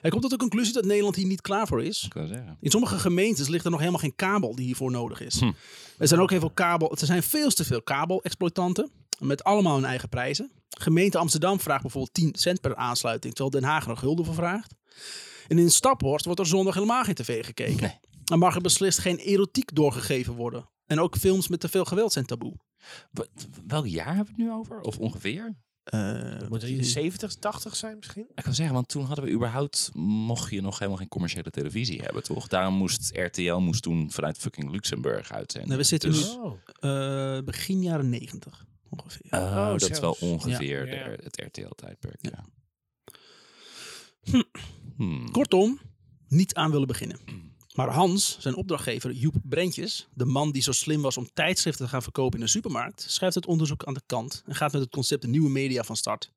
Hij komt tot de conclusie dat Nederland hier niet klaar voor is.
Ik wou zeggen.
In sommige gemeentes ligt er nog helemaal geen kabel die hiervoor nodig is.
Hm.
Er zijn ook heel veel kabel. Er zijn veel te veel kabelexploitanten. Met allemaal hun eigen prijzen. Gemeente Amsterdam vraagt bijvoorbeeld 10 cent per aansluiting. Terwijl Den Haag er nog gulden voor vraagt. En in Staphorst wordt er zondag helemaal geen tv gekeken.
Nee.
Dan mag er beslist geen erotiek doorgegeven worden. En ook films met te veel geweld zijn taboe.
Wat- Welk jaar hebben we het nu over? Of ongeveer?
Eh,
Moet het in de 70, 80 zijn misschien?
Ik kan zeggen, want toen hadden we überhaupt, mocht je nog helemaal geen commerciële televisie hebben, toch? Daarom moest RTL moest toen vanuit fucking Luxemburg uitzenden.
Nou, we zitten
Dus-
nu eh, begin jaren 90 ongeveer.
Oh,
Oh,
dat is wel
zelfs.
ongeveer
Ja.
de- het RTL-tijdperk, ja.
Hm.
Hmm.
Kortom, niet aan willen beginnen. Maar Hans, zijn opdrachtgever Joep Brentjes, de man die zo slim was om tijdschriften te gaan verkopen in de supermarkt, schrijft het onderzoek aan de kant en gaat met het concept nieuwe media van start.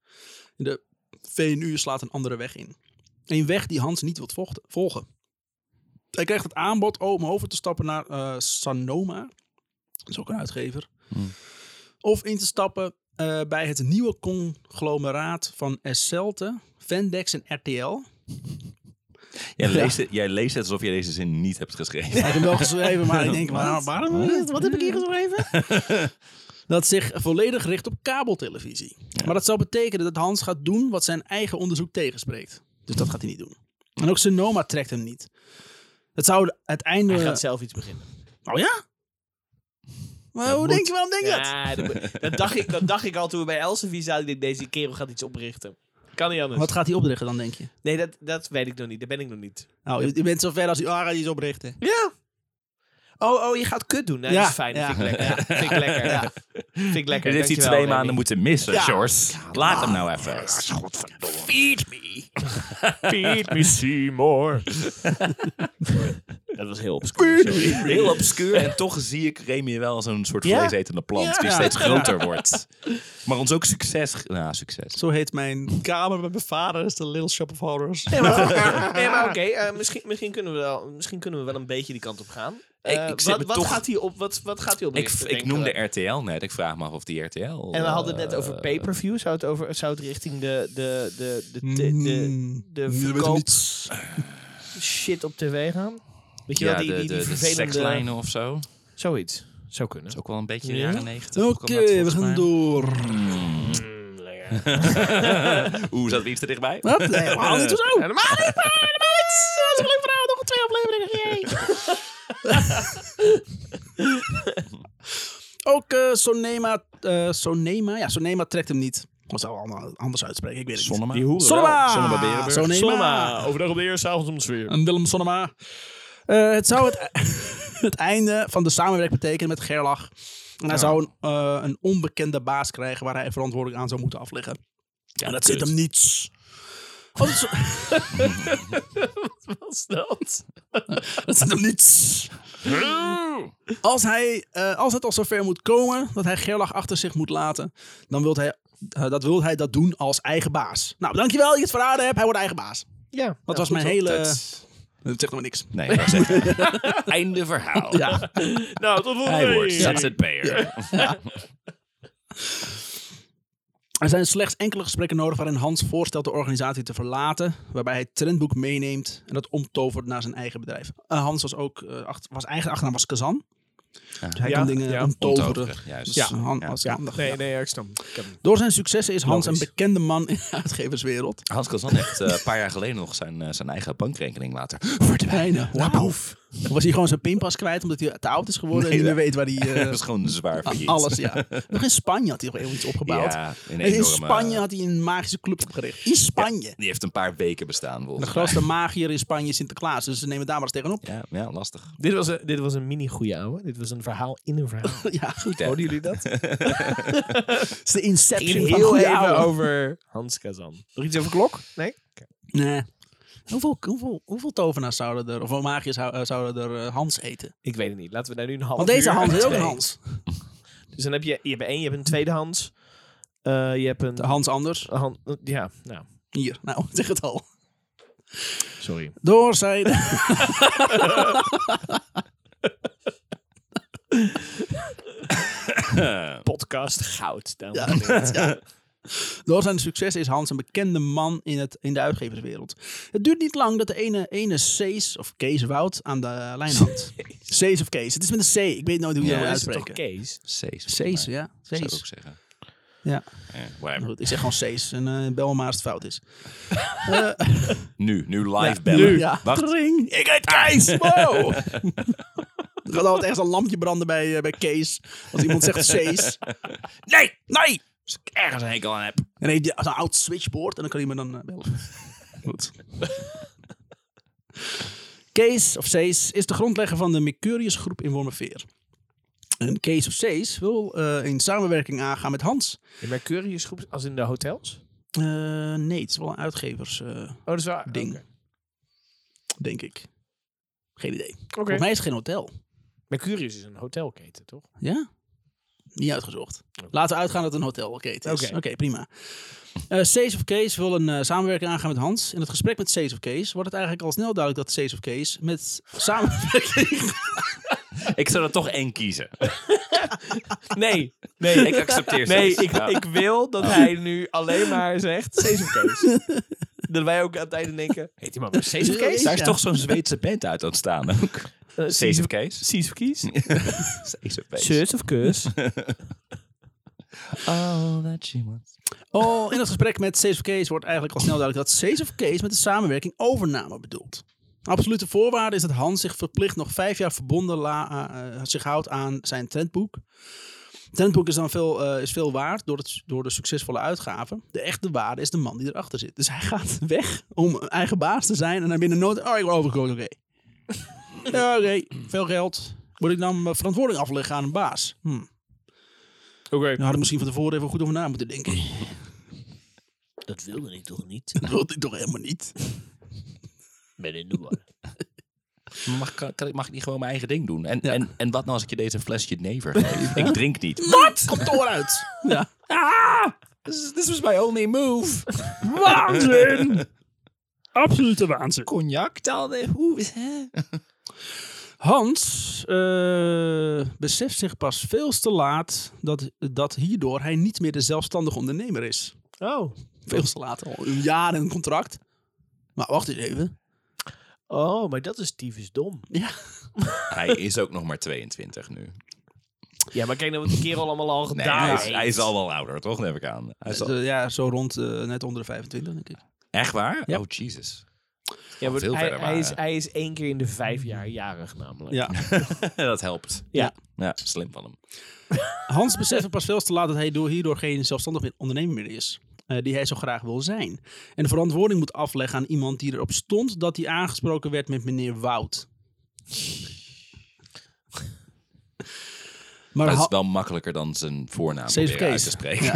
De VNU slaat een andere weg in. Een weg die Hans niet wilt vocht- volgen. Hij krijgt het aanbod om over te stappen naar eh, Sanoma, dat is ook een uitgever,
Hmm.
of in te stappen eh, bij het nieuwe conglomeraat van Esselte, Vendex en RTL.
Jij, leest het, jij leest het alsof jij deze zin niet hebt geschreven.
Ik heb hem wel geschreven, maar ik denk, waar, waarom? Wat heb ik hier geschreven? Dat zich volledig richt op kabeltelevisie. Maar dat zou betekenen dat Hans gaat doen wat zijn eigen onderzoek tegenspreekt. Dus dat gaat hij niet doen. En ook Sonoma trekt hem niet. Het zou het einde...
Hij gaat zelf iets beginnen.
Oh ja? Maar hoe denk je, waarom denk je dat?
Ja, dat, dat dacht ik, dat dacht ik al toen we bij Elsevier zaten. Ik dacht, deze kerel gaat iets oprichten. Kan niet anders.
Wat gaat hij oprichten dan, denk je?
Nee, dat, dat weet ik nog niet. Daar ben ik nog niet.
Nou, je, je bent zover als hij ah, gaat hij iets oprichten.
Ja. Oh, oh, je gaat kut doen. Nee,
Ja,
dat is fijn.
ja.
Dat vind ik lekker. Vind ik lekker. Vind ik lekker.
Dit heeft hij
Dankjewel,
twee
Remy.
maanden moeten missen,
Ja.
Sjors. Laat hem nou even.
Feed me.
Feed me Seymour. dat was heel obscuur. sorry.
Heel obscuur. En toch zie ik Remy wel als een soort
Ja.
vleesetende plant die
Ja.
steeds groter wordt. Maar ons ook succes... ge- Nou, succes.
Zo heet mijn kamer met mijn vader. is de Little Shop of Horrors.
Nee, maar, nee, maar oké. eh, misschien, misschien, kunnen we wel- misschien kunnen we wel een beetje die kant op gaan. Eh,
Ik- ik zit
wat,
me
wat
toch-
gaat hij op? Wat, wat gaat hij op?
Ik,
richten,
ik
denken we?
noemde RTL net. Ik vraag me af of die RTL...
En we
eh,
hadden het net over pay-per-view. Zou het, over, zou het richting de, de, de, de, de, de,
Mm.
de
Je weet het
verkoop
niet.
shit op tv gaan? Weet je
Ja,
wel, die,
de,
die, die
de, de
vervelende...
sekslijnen of zo. Dat
Zoiets. Zou kunnen.
is ook wel een beetje
Ja.
jaren negentig.
Oké,
kwam dat
we
volgens
gaan
mij.
door.
Mm, lekker.
Oeh, zat we iets te dichtbij?
Wat? Nee, helemaal niet. Hoezo?
Helemaal niet, maar helemaal niet. Dat is een leuk verhaal. Nog twee afleveringen. Yay.
Ook eh, Sonema, eh, Sonema, ja, Sonema trekt hem niet. Dat zou allemaal anders uitspreken, ik weet het
Sonnema.
niet.
wel.
Sonnema!
Sonnema Berenburg.
Sonema!
Overdag op de eerste, avond om de sfeer.
En Willem Sonnema. Eh, het zou het, het einde van de samenwerking betekenen met Gerlach. En hij zou een, eh, een onbekende baas krijgen waar hij verantwoordelijk aan zou moeten afleggen. Ja, dat zit
kut.
hem niets. Oh, dat, is-
Wat is dat?
dat zit hem niets. Als, hij, eh, als het al zover moet komen dat hij Gerlach achter zich moet laten, dan wil hij, eh, dat, wil hij dat doen als eigen baas. Nou, dankjewel dat je het verraden hebt. Hij wordt eigen baas.
Ja. Dat
Dat was mijn hele... Dat
Dat-
zegt nog niks.
Nee, dat is echt- Einde verhaal.
Ja.
Nou, tot volgende
Hij wordt
week.
ZZP'er.
Er zijn slechts enkele gesprekken nodig waarin Hans voorstelt de organisatie te verlaten, waarbij hij het trendboek meeneemt en dat omtovert naar zijn eigen bedrijf. Eh, Hans was ook, eh, acht- was eigen achternaam was Kazan. Dus hij
Ja,
kan dingen
ja.
omtoveren.
Omtoveren, juist.
Dus
Ja.
Han
Ja.
was handig.
Nee,
Ja.
nee, ja, ik snap. Ik heb hem.
Door zijn successen is Hans
Logisch.
een bekende man in de uitgeverswereld.
Hans Kazan heeft eh, een paar jaar geleden nog zijn, eh, zijn eigen bankrekening laten verdwijnen.
Wauw. Of was hij gewoon zijn pinpas kwijt omdat hij te oud is geworden en
Nee,
niet meer
dat-
weet waar hij... eh,
Dat is gewoon zwaar failliet.
alles, ja. Nog in Spanje had hij nog even iets opgebouwd.
Ja, een
En in
enorme-
Spanje had hij een magische club opgericht. In Spanje.
Die heeft een paar weken bestaan volgens
De grootste magier in Spanje is Sinterklaas, dus ze nemen daar maar eens tegenop.
mij. Ja, ja, lastig.
Dit was een, dit was een mini goeie ouwe. Dit was een verhaal in een verhaal.
Ja, goed.
hè?
jullie dat?
Het is de inception van
heel
goede
even
ouwe.
over Hans Kazan. Nog iets over klok? Nee?
Nee. Hoeveel, hoeveel, hoeveel tovenaars zouden er, of hoeveel magiërs zou- eh, zouden er eh, Hans eten?
Ik weet het niet. Laten we daar nu een half
Want deze
uur-
Hans is ook
twee.
een Hans.
Dus dan heb je, je hebt één, je hebt een tweede Hans. Eh, je hebt een...
De Hans anders.
een Han- ja, nou,
Hier, nou, zeg het al.
sorry.
Door zijn...
Podcast goud. dames
Ja,
en heren.
ja. Door zijn succes is Hans een bekende man in, het, in de uitgeverswereld. Het duurt niet lang dat de ene, ene Cees of Kees Wout aan de lijn hangt. Cees of Kees. Het is met een C. Ik weet nooit hoe je
Ja,
dat moet
is het
Toch
uitspreken.
Kees?
C's.
Cees, ja.
Zou ik
Cees.
ook zeggen.
Ja.
Ja, whatever.
Goed, ik zeg gewoon Cees en eh bel me maar als het fout is.
Nu, nu live
Ja,
bellen.
nu, ja.
Wacht.
Tring. Ik heet Kees. Wow. er gaat altijd ergens een lampje branden bij, eh, bij Kees. Als iemand zegt Cees.
Nee, nee! Als ik ergens een hekel aan heb.
En hij heeft een oud switchboard en dan kan iemand dan eh, bellen. Goed. Kees of Cees is de grondlegger van de Mercurius groep in Wormerveer. En Kees of Cees wil eh, in samenwerking aangaan met Hans.
De Mercurius groep, als in de hotels?
Eh, nee, het is wel een uitgevers, eh,
Oh, dat is waar.
Ding.
Oké.
denk ik. Geen idee. Volgens
Oké.
mij is het geen hotel.
Mercurius is een hotelketen, toch?
Ja? Niet uitgezocht. Laten we uitgaan dat het een hotelketen is. Oké,
Oké.
prima. Eh Cees of Kees wil een eh, samenwerking aangaan met Hans. In het gesprek met Cees of Kees wordt het eigenlijk al snel duidelijk dat Cees of Kees met samenwerking...
Ik zou er toch één kiezen.
Nee, nee.
Ik accepteer
Nee,
C's.
ik,
Ja.
ik wil dat hij nu alleen maar zegt Sesam Kees. dat wij ook aan het einde denken, heet die man weer Sesam Kees?
Daar is
Ja.
toch zo'n Zweedse band uit ontstaan ook.
Eh,
C's of
Sesam-
Kees.
Sesam Kees?
C's of Kees.
Zus of kus?
All that she wants.
Oh, in het gesprek met Cees of Kees wordt eigenlijk al snel duidelijk dat Cees of Kees met de samenwerking overname bedoelt. Absolute voorwaarde is dat Hans zich verplicht nog vijf jaar verbonden la- eh, eh, zich houdt aan zijn trendboek. Trendboek is dan veel, eh, is veel waard door, het, door de succesvolle uitgaven. De echte waarde is de man die erachter zit. Dus hij gaat weg om een eigen baas te zijn en dan binnen nood. Oh, ik word overgekomen, oké. Ja, oké, veel geld. Moet ik dan mijn verantwoording afleggen aan een baas? Hm. Nou,
Oké.
hadden we misschien van tevoren even goed over na moeten denken.
Dat wilde ik toch niet?
Dat wilde ik toch helemaal niet.
Ben in de war.
Mag, kan, kan ik- mag ik niet gewoon mijn eigen ding doen? En,
Ja.
en, en wat nou als ik je deze flesje never geef? Ik drink niet.
Wat? Kantoor uit. Ja.
Ah! This, this was my only move.
Waanzin! Absolute waanzin.
Cognac dan? eh, Hoe? hè?
Hans eh, beseft zich pas veel te laat dat, dat hierdoor hij niet meer de zelfstandige ondernemer is.
Oh.
Veel te laat, al een jaar en een contract. Maar wacht eens even.
Oh, maar dat is tyfus dom.
Ja.
Hij is ook nog maar 22 nu.
Ja, maar kijk nou wat die kerel allemaal al
Nee,
gedaan
hij, is,
heeft.
hij is al wel ouder, toch? Neem ik aan. Hij is al-
Eh, ja, zo rond eh, net onder de 25, denk ik.
Echt waar?
Ja.
Oh, Jesus.
Ja, maar
veel
hij,
verder
hij, is,
waren.
hij is één keer in de vijf jaar jarig namelijk.
Ja.
dat helpt.
Ja.
Ja, slim van hem.
Hans beseft pas veel te laat dat hij door, hierdoor geen zelfstandig meer- ondernemer meer is. eh, die hij zo graag wil zijn. En de verantwoording moet afleggen aan iemand die erop stond dat hij aangesproken werd met meneer Wout. Maar
Dat
Ha-
is wel makkelijker dan zijn voornaam
Safe
weer uit
case.
te spreken.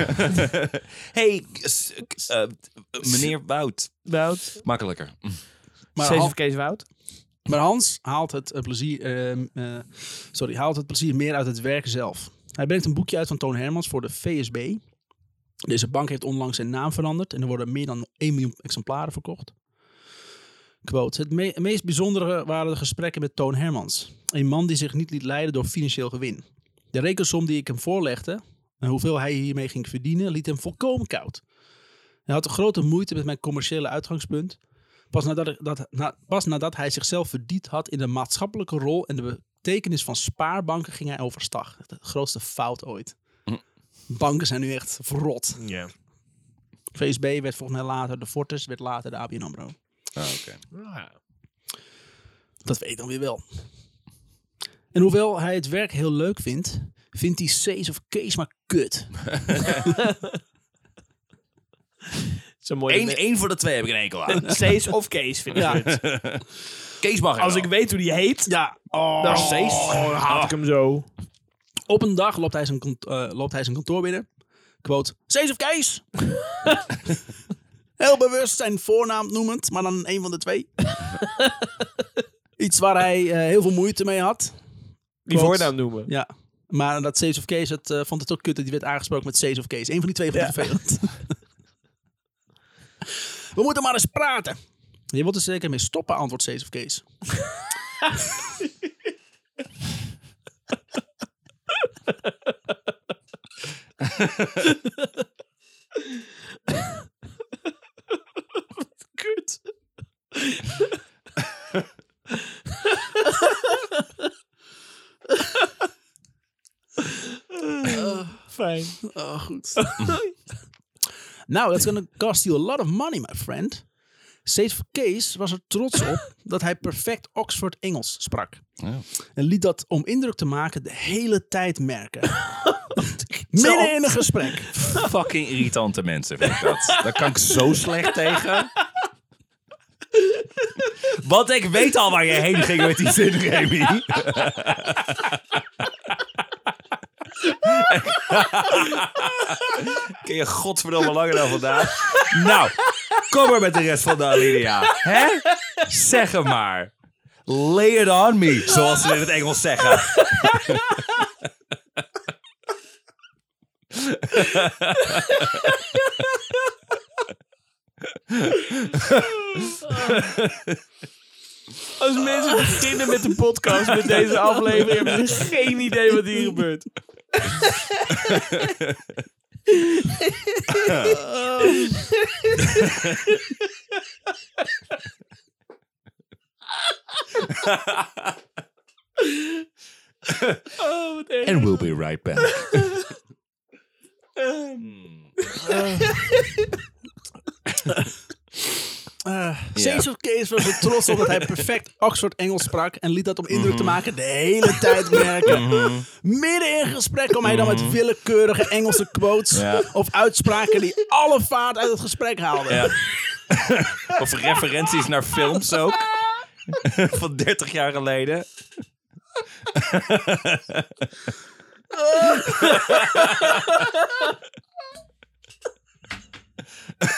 hey, s- s- eh, meneer Wout.
Wout.
Makkelijker.
maar
Safe
Han-
of Kees Wout.
Maar Hans haalt het, eh, plezier, ehm, eh, sorry, haalt het plezier meer uit het werk zelf. Hij brengt een boekje uit van Toon Hermans voor de VSB. Deze bank heeft onlangs zijn naam veranderd en er worden meer dan 1 miljoen exemplaren verkocht. Quote, het me- meest bijzondere waren de gesprekken met Toon Hermans. Een man die zich niet liet leiden door financieel gewin. De rekensom die ik hem voorlegde en hoeveel hij hiermee ging verdienen, liet hem volkomen koud. Hij had grote moeite met mijn commerciële uitgangspunt. Pas nadat, ik- dat, na- pas nadat hij zichzelf verdiend had in de maatschappelijke rol en de betekenis van spaarbanken, ging hij overstag. De grootste fout ooit.
Hm.
Banken zijn nu echt verrot.
Ja.
VSB werd volgens mij later de Fortis, werd later de ABN AMRO.
Oh,
Dat weet ik dan weer wel. En hoewel hij het werk heel leuk vindt, vindt hij C's of Kees maar kut.
Zo'n mooie... me-
Eén voor de twee heb ik een enkel aan.
Cees of Kees vind ik
Ja.
het.
Kees mag er
Als
wel.
ik weet hoe die heet,
Ja, oh.
dan, dan haat ik hem zo.
Op een dag loopt hij zijn, kant- eh, loopt hij zijn kantoor binnen. Quote, Cees of Kees? Heel bewust zijn voornaam noemend, maar dan een van de twee. Iets waar hij eh, heel veel moeite mee had.
Die
Klopt.
voornaam noemen.
Ja. Maar dat Cees of Kees, het, eh, vond het ook kut dat die werd aangesproken met Cees of Kees. Eén van die twee vond het vervelend. We moeten maar eens praten. Je wilt er zeker mee stoppen, antwoordt Cees of Kees.
Kut. Fijn.
Oh, goed. nou, that's gonna cost you a lot of money, my friend. Cees of Kees was er trots op dat hij perfect Oxford Engels sprak.
Ja.
En liet dat om indruk te maken de hele tijd merken. Midden in een gesprek.
Fucking irritante mensen vind ik dat. Daar kan ik zo slecht tegen. Want ik weet al waar je heen ging met die zin, Remy. Ken je godverdomme langer dan vandaag? Nou, kom maar met de rest van de Alinea. Hè? Zeg hem maar. Lay it on me, zoals ze in het Engels zeggen.
Als mensen beginnen met de podcast, met deze aflevering, hebben ze geen idee wat hier gebeurt. Oh, wat erg.
And we'll be right back.
Eh, Cees of Kees was er trots op dat hij perfect Oxford Engels sprak en liet dat om indruk
Mhm.
te maken de hele tijd merken. Midden in gesprek kwam hij dan met willekeurige Engelse quotes
Mhm. Ja.
of uitspraken die alle vaart uit het gesprek haalden.
Ja. of referenties naar films ook. Van 30 jaar geleden.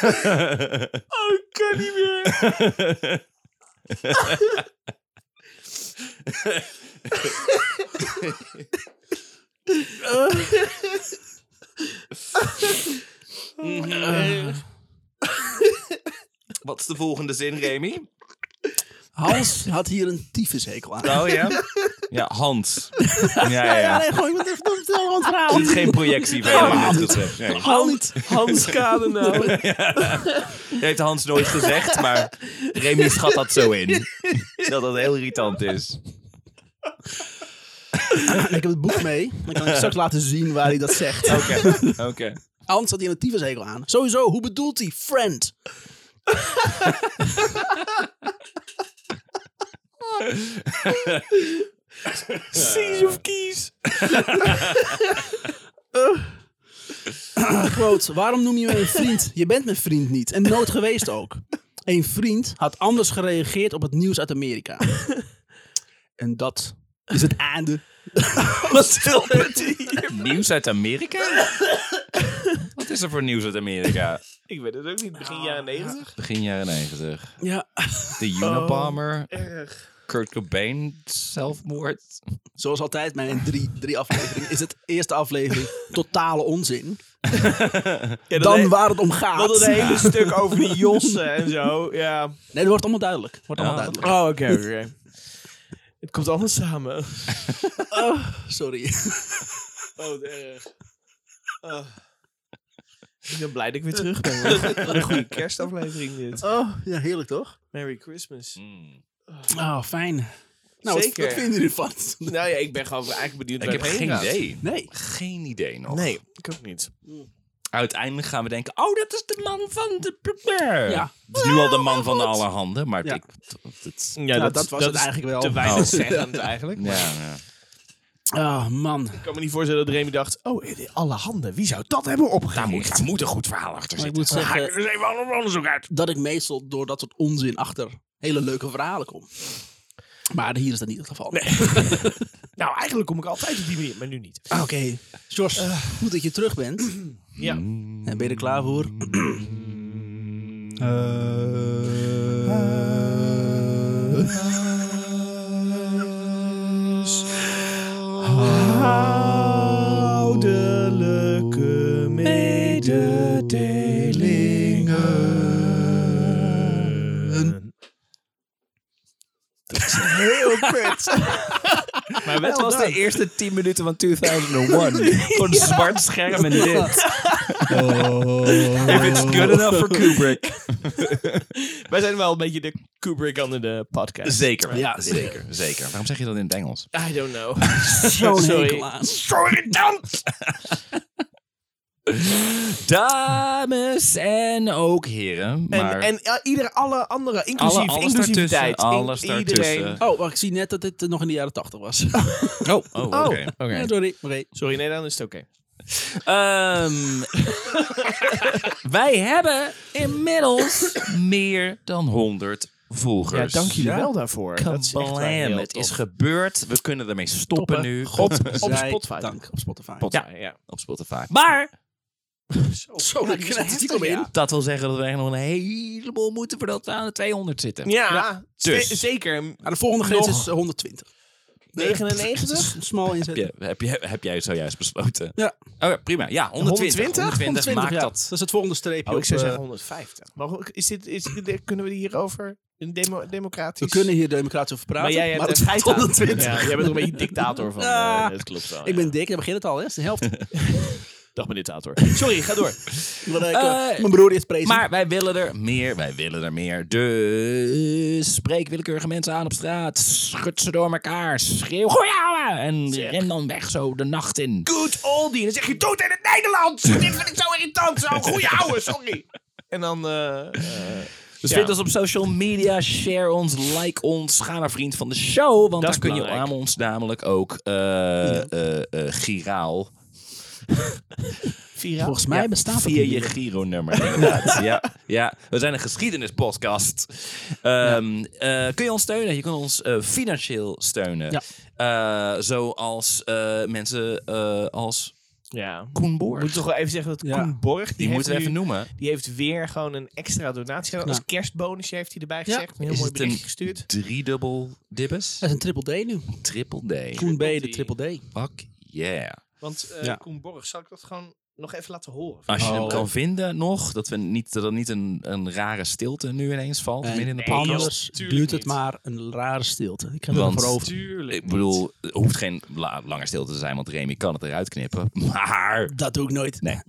Oh, ik kan niet meer.
Eh,
Wat is de volgende zin, Remy?
Hans had hier een tyfushekel aan.
Oh ja? Ja, Hans. Ja, ja,
Ja,
ja.
nee, gooi me even vertel me het verhaal.
Er zit geen projectie bij hem in dit gesprek. Nee.
Hans.
Hans Kadenau.
Dat heeft Hans nooit gezegd, maar Remy schat dat zo in. Dat dat heel irritant is.
Ik heb het boek mee. Dan kan ik straks laten zien waar hij dat zegt.
Oké, oké.
Hans had hier een tyfushekel aan. Sowieso, hoe bedoelt hij? Friend.
Siege of Keys.
Quote, waarom noem je me een vriend? Je bent mijn vriend niet. En nooit geweest ook. Een vriend had anders gereageerd op het nieuws uit Amerika. En dat is het einde. Wat wil
Nieuws uit Amerika? Wat is er voor nieuws uit Amerika?
Ah. Ik weet het ook niet. Begin jaren negentig.
Begin jaren 90.
Ja,
De Unabomber.
Erg.
Kurt Cobain zelfmoord.
zoals altijd mijn drie, drie afleveringen is het eerste aflevering totale onzin.
Ja, dat
Dan
he-
waar het om
dat
gaat.
het hele stuk over die Jossen en zo. Ja.
Nee, dat wordt allemaal duidelijk. Wordt allemaal
Ja.
duidelijk.
Oh, oké, oké. Het komt allemaal samen.
Sorry.
Oh, wat erg. Oh. Ik ben blij dat ik weer terug ben. hoor. Wat een goede kerstaflevering dit.
Oh, ja, heerlijk toch?
Merry Christmas.
Oh, fijn. Nou, wat,
Zeker.
wat vinden jullie ervan?
Nou ja, ik ben gewoon eigenlijk benieuwd
Ik
waar
heb
het heen
geen
gaat.
idee.
Nee.
Geen idee nog.
Nee, ik ook niet.
Uiteindelijk gaan we denken, oh, dat is de man van de...
Ja.
Het is nu al de man van de allerhande, maar
Ja.
ik... dat- dat-
Ja,
Nou, dat was het eigenlijk wel.
Te weinig zeggend eigenlijk.
ja, ja.
Oh, man.
Ik kan me niet voorstellen dat Remy dacht: Oh, alle handen, wie zou dat hebben
Daar,
opgegaan?
moet, daar moet een goed verhaal achter
Maar ik
zitten.
moet
Daar ga ik
zeggen-
dus even een onderzoek uit.
dat ik meestal door dat soort onzin achter hele leuke verhalen kom. Maar hier is dat niet het geval.
Nou, eigenlijk kom ik altijd op die manier, maar nu niet.
Ah, Oké, Sjors, goed dat je terug bent.
Ja.
En ben je er klaar voor?
Houdelijke mededelingen. Dat is heel kut. maar wel
Het was de
dan.
eerste 10 minuten van 2001. Gewoon een zwart scherm en dit. If it's good enough for Kubrick.
Wij zijn wel een beetje de Kubrick onder de podcast.
Zeker.
Ja,
zeker. zeker. Waarom zeg je dat in het Engels?
I don't know.
Zo'n
Sorry.
hekel aan.
Sorry, dan! Dames en ook heren.
En,
Maar
en eh, ieder, alle andere, inclusief
alle, alles
inclusiviteit.
daartussen.
in-
Alles daartussen.
Oh, wacht, ik zie net dat dit eh, nog in de jaren tachtig was.
Oh, oh oké.
Ja, sorry. Oké.
Sorry, nee, dan is het oké.
Ehm, wij hebben inmiddels meer dan 100 volgers.
Ja?
daarvoor.
Kablam, het is gebeurd. We kunnen ermee stoppen, nu.
God,
op Spotify.
Dank, op Spotify.
Pot-
Ja, ja.
op Spotify. Maar
Zo, daar krijg je het in.
dat wil zeggen dat we echt nog een heleboel moeten voordat we aan de 200 zitten.
Ja,
dus.
ze- zeker.
Maar de volgende grens
Nog.
is eh, 120.
99?
Een Smal inzet.
Heb, je, heb, je, heb jij zojuist besloten?
Ja.
Oké, prima. Ja, 120.
120?
120 maakt
ja.
dat.
is het volgende streepje.
Oh, ik
op,
zou
eh,
zeggen 150. Maar ook- is dit, is, dit- kunnen we hierover een demo, democratisch...
we kunnen hier democratisch over praten.
Maar jij hebt
maar
een
het gaat
scheid aan.
120.
Ja, jij bent ook een beetje dictator Eh, van...
Ja.
eh, dat klopt wel.
Ik
ja.
ben dik, dan begint het al, hè? is de helft.
Dag, meneer dictator. Sorry, ga door.
Wat, eh,
Eh,
mijn broer is prezen.
Maar wij willen er meer, wij willen er meer. Dus spreek willekeurige mensen aan op straat. Schud ze door elkaar. Schreeuw, goeie ouwe! En ren dan weg zo de nacht in.
Good oldie. Dan zeg je, dood in het Nederlands. Dit vind ik zo irritant. Zo, goeie ouwe, sorry. En dan... eh, eh,
Dus
Ja.
vind ons op social media, share ons, like ons, ga naar vriend van de show. Want
Dat
daar
is
kun je
belangrijk.
aan ons namelijk ook eh eh, eh, giraal
Vira?
Volgens mij
Ja,
bestaat dat
Via
niet
je
meer.
Giro-nummer, inderdaad. ja, ja, we zijn een geschiedenispodcast. Ehm, eh, kun je ons steunen? Je kunt ons eh, financieel steunen.
Ja.
Eh, zoals eh, mensen eh, als
Ja.
Koen
We
Borg.
moeten toch wel even zeggen dat
Ja.
Koen Borg, die,
Die
heeft
moeten we
nu-
even noemen.
die heeft weer gewoon een extra donatie gedaan.
Ja.
Als kerstbonusje heeft hij erbij
Ja.
gezegd. Een heel
Is
mooi
het een-
berichtje gestuurd.
Driedubbel dibbes.
Dat is een triple D nu.
Triple D.
Koen B, de
Triple
triple D.
Fuck yeah.
Want eh,
Ja.
Koen Borg, zal ik dat gewoon nog even laten horen?
Als je
Oh.
hem kan vinden nog, dat, we niet, dat er niet een, een rare stilte nu ineens valt.
En
midden in de
Nee,
podcast.
Anders
tuurlijk
duurt het
niet.
maar een rare stilte. Ik ga
Want-
er voor over.
Tuurlijk.
Ik bedoel, er hoeft geen la- lange stilte te zijn, want Remy kan het eruit knippen. Maar
Dat doe ik nooit.
Nee.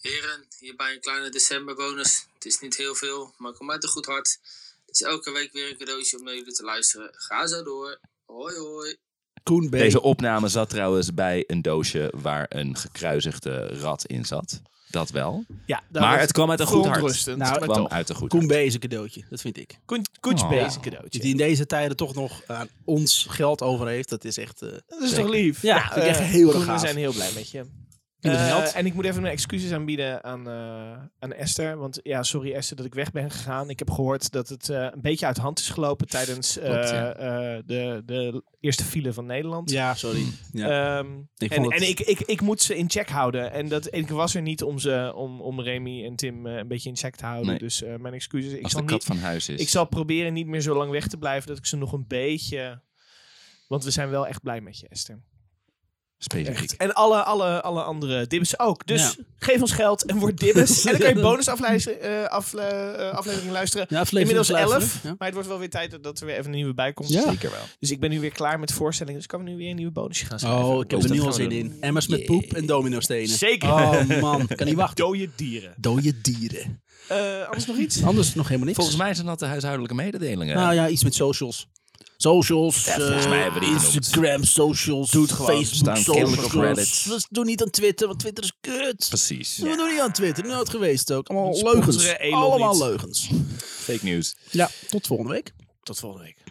Heren, hierbij een kleine eh, decemberbonus. Het is niet heel veel, maar kom uit een goed hart. Het is elke week weer een cadeautje om naar jullie te luisteren. Ga zo door. Hoi hoi.
Koen B.
deze opname zat trouwens bij een doosje waar een gekruisigde rat in zat. Dat wel.
ja,
maar het kwam uit een goed hart.
Verontrustend.
Nou,
Nou,
Het
maar
kwam
toch.
uit een goed
Koen
hart.
B is een cadeautje. Dat vind ik.
Koen- Koetje
Oh.
B is een
Die
cadeautje.
in deze tijden toch nog aan ons geld over heeft. Dat is echt... eh,
Dat is
Zeker.
toch lief?
Ja,
Nou,
vind ik echt
eh,
heel erg
Koen, We
gaaf.
zijn heel blij met je.
met
Eh,
geld.
en ik moet even mijn excuses aanbieden aan, eh, aan Esther. Want ja, sorry Esther dat ik weg ben gegaan. Ik heb gehoord dat het eh, een beetje uit de hand is gelopen tijdens eh,
Klopt, ja.
eh, de, de eerste file van Nederland.
ja, sorry. Ja.
Ehm,
Ik
en
vond het-
en ik, ik, ik moet ze in check houden. En dat, ik was er niet om, ze, om, om Remy en Tim eh, een beetje in check te houden.
Nee.
Dus eh, mijn excuses. Ik
Als
zal,
de kat
niet,
van huis is.
ik zal proberen niet meer zo lang weg te blijven. Dat ik ze nog een beetje... Want we zijn wel echt blij met je, Esther.
Specifiek.
En alle, alle, alle andere dibbes ook. Dus geef ons geld en word dibbes. en dan kan je bonusafleveringen af, eh, afleveringen luisteren.
Ja, aflevering
Inmiddels
luisteren,
11.
ja.
Maar het wordt wel weer tijd dat- dat er weer even een nieuwe bij komt.
Ja.
Zeker wel.
Dus ik ben nu weer klaar met voorstellingen. Dus ik kan nu weer een nieuwe bonusje gaan schrijven.
Oh, ik heb
Dus
er
dat
nu al
gaan we
zin
doen.
in. Emmers met poep en domino stenen.
Zeker.
Oh man, kan niet wachten.
Dode dieren.
Dode dieren.
Eh, anders nog iets?
Anders nog helemaal niks.
Volgens mij zijn dat de huishoudelijke mededelingen.
Nou ja, iets met socials. Socials,
Ja, volgens
eh,
mij hebben we die genoemd.
Instagram, socials,
Doe het gewoon. We
Facebook,
staan kennelijk
socials.
op Reddit.
Dus Doe niet aan Twitter, want Twitter is kut.
Precies.
We doen niet aan Twitter, nooit geweest ook. Allemaal
Sponsoren
leugens.
Elon
Allemaal
niet.
leugens.
Fake news.
Ja, tot volgende week.
Tot volgende week.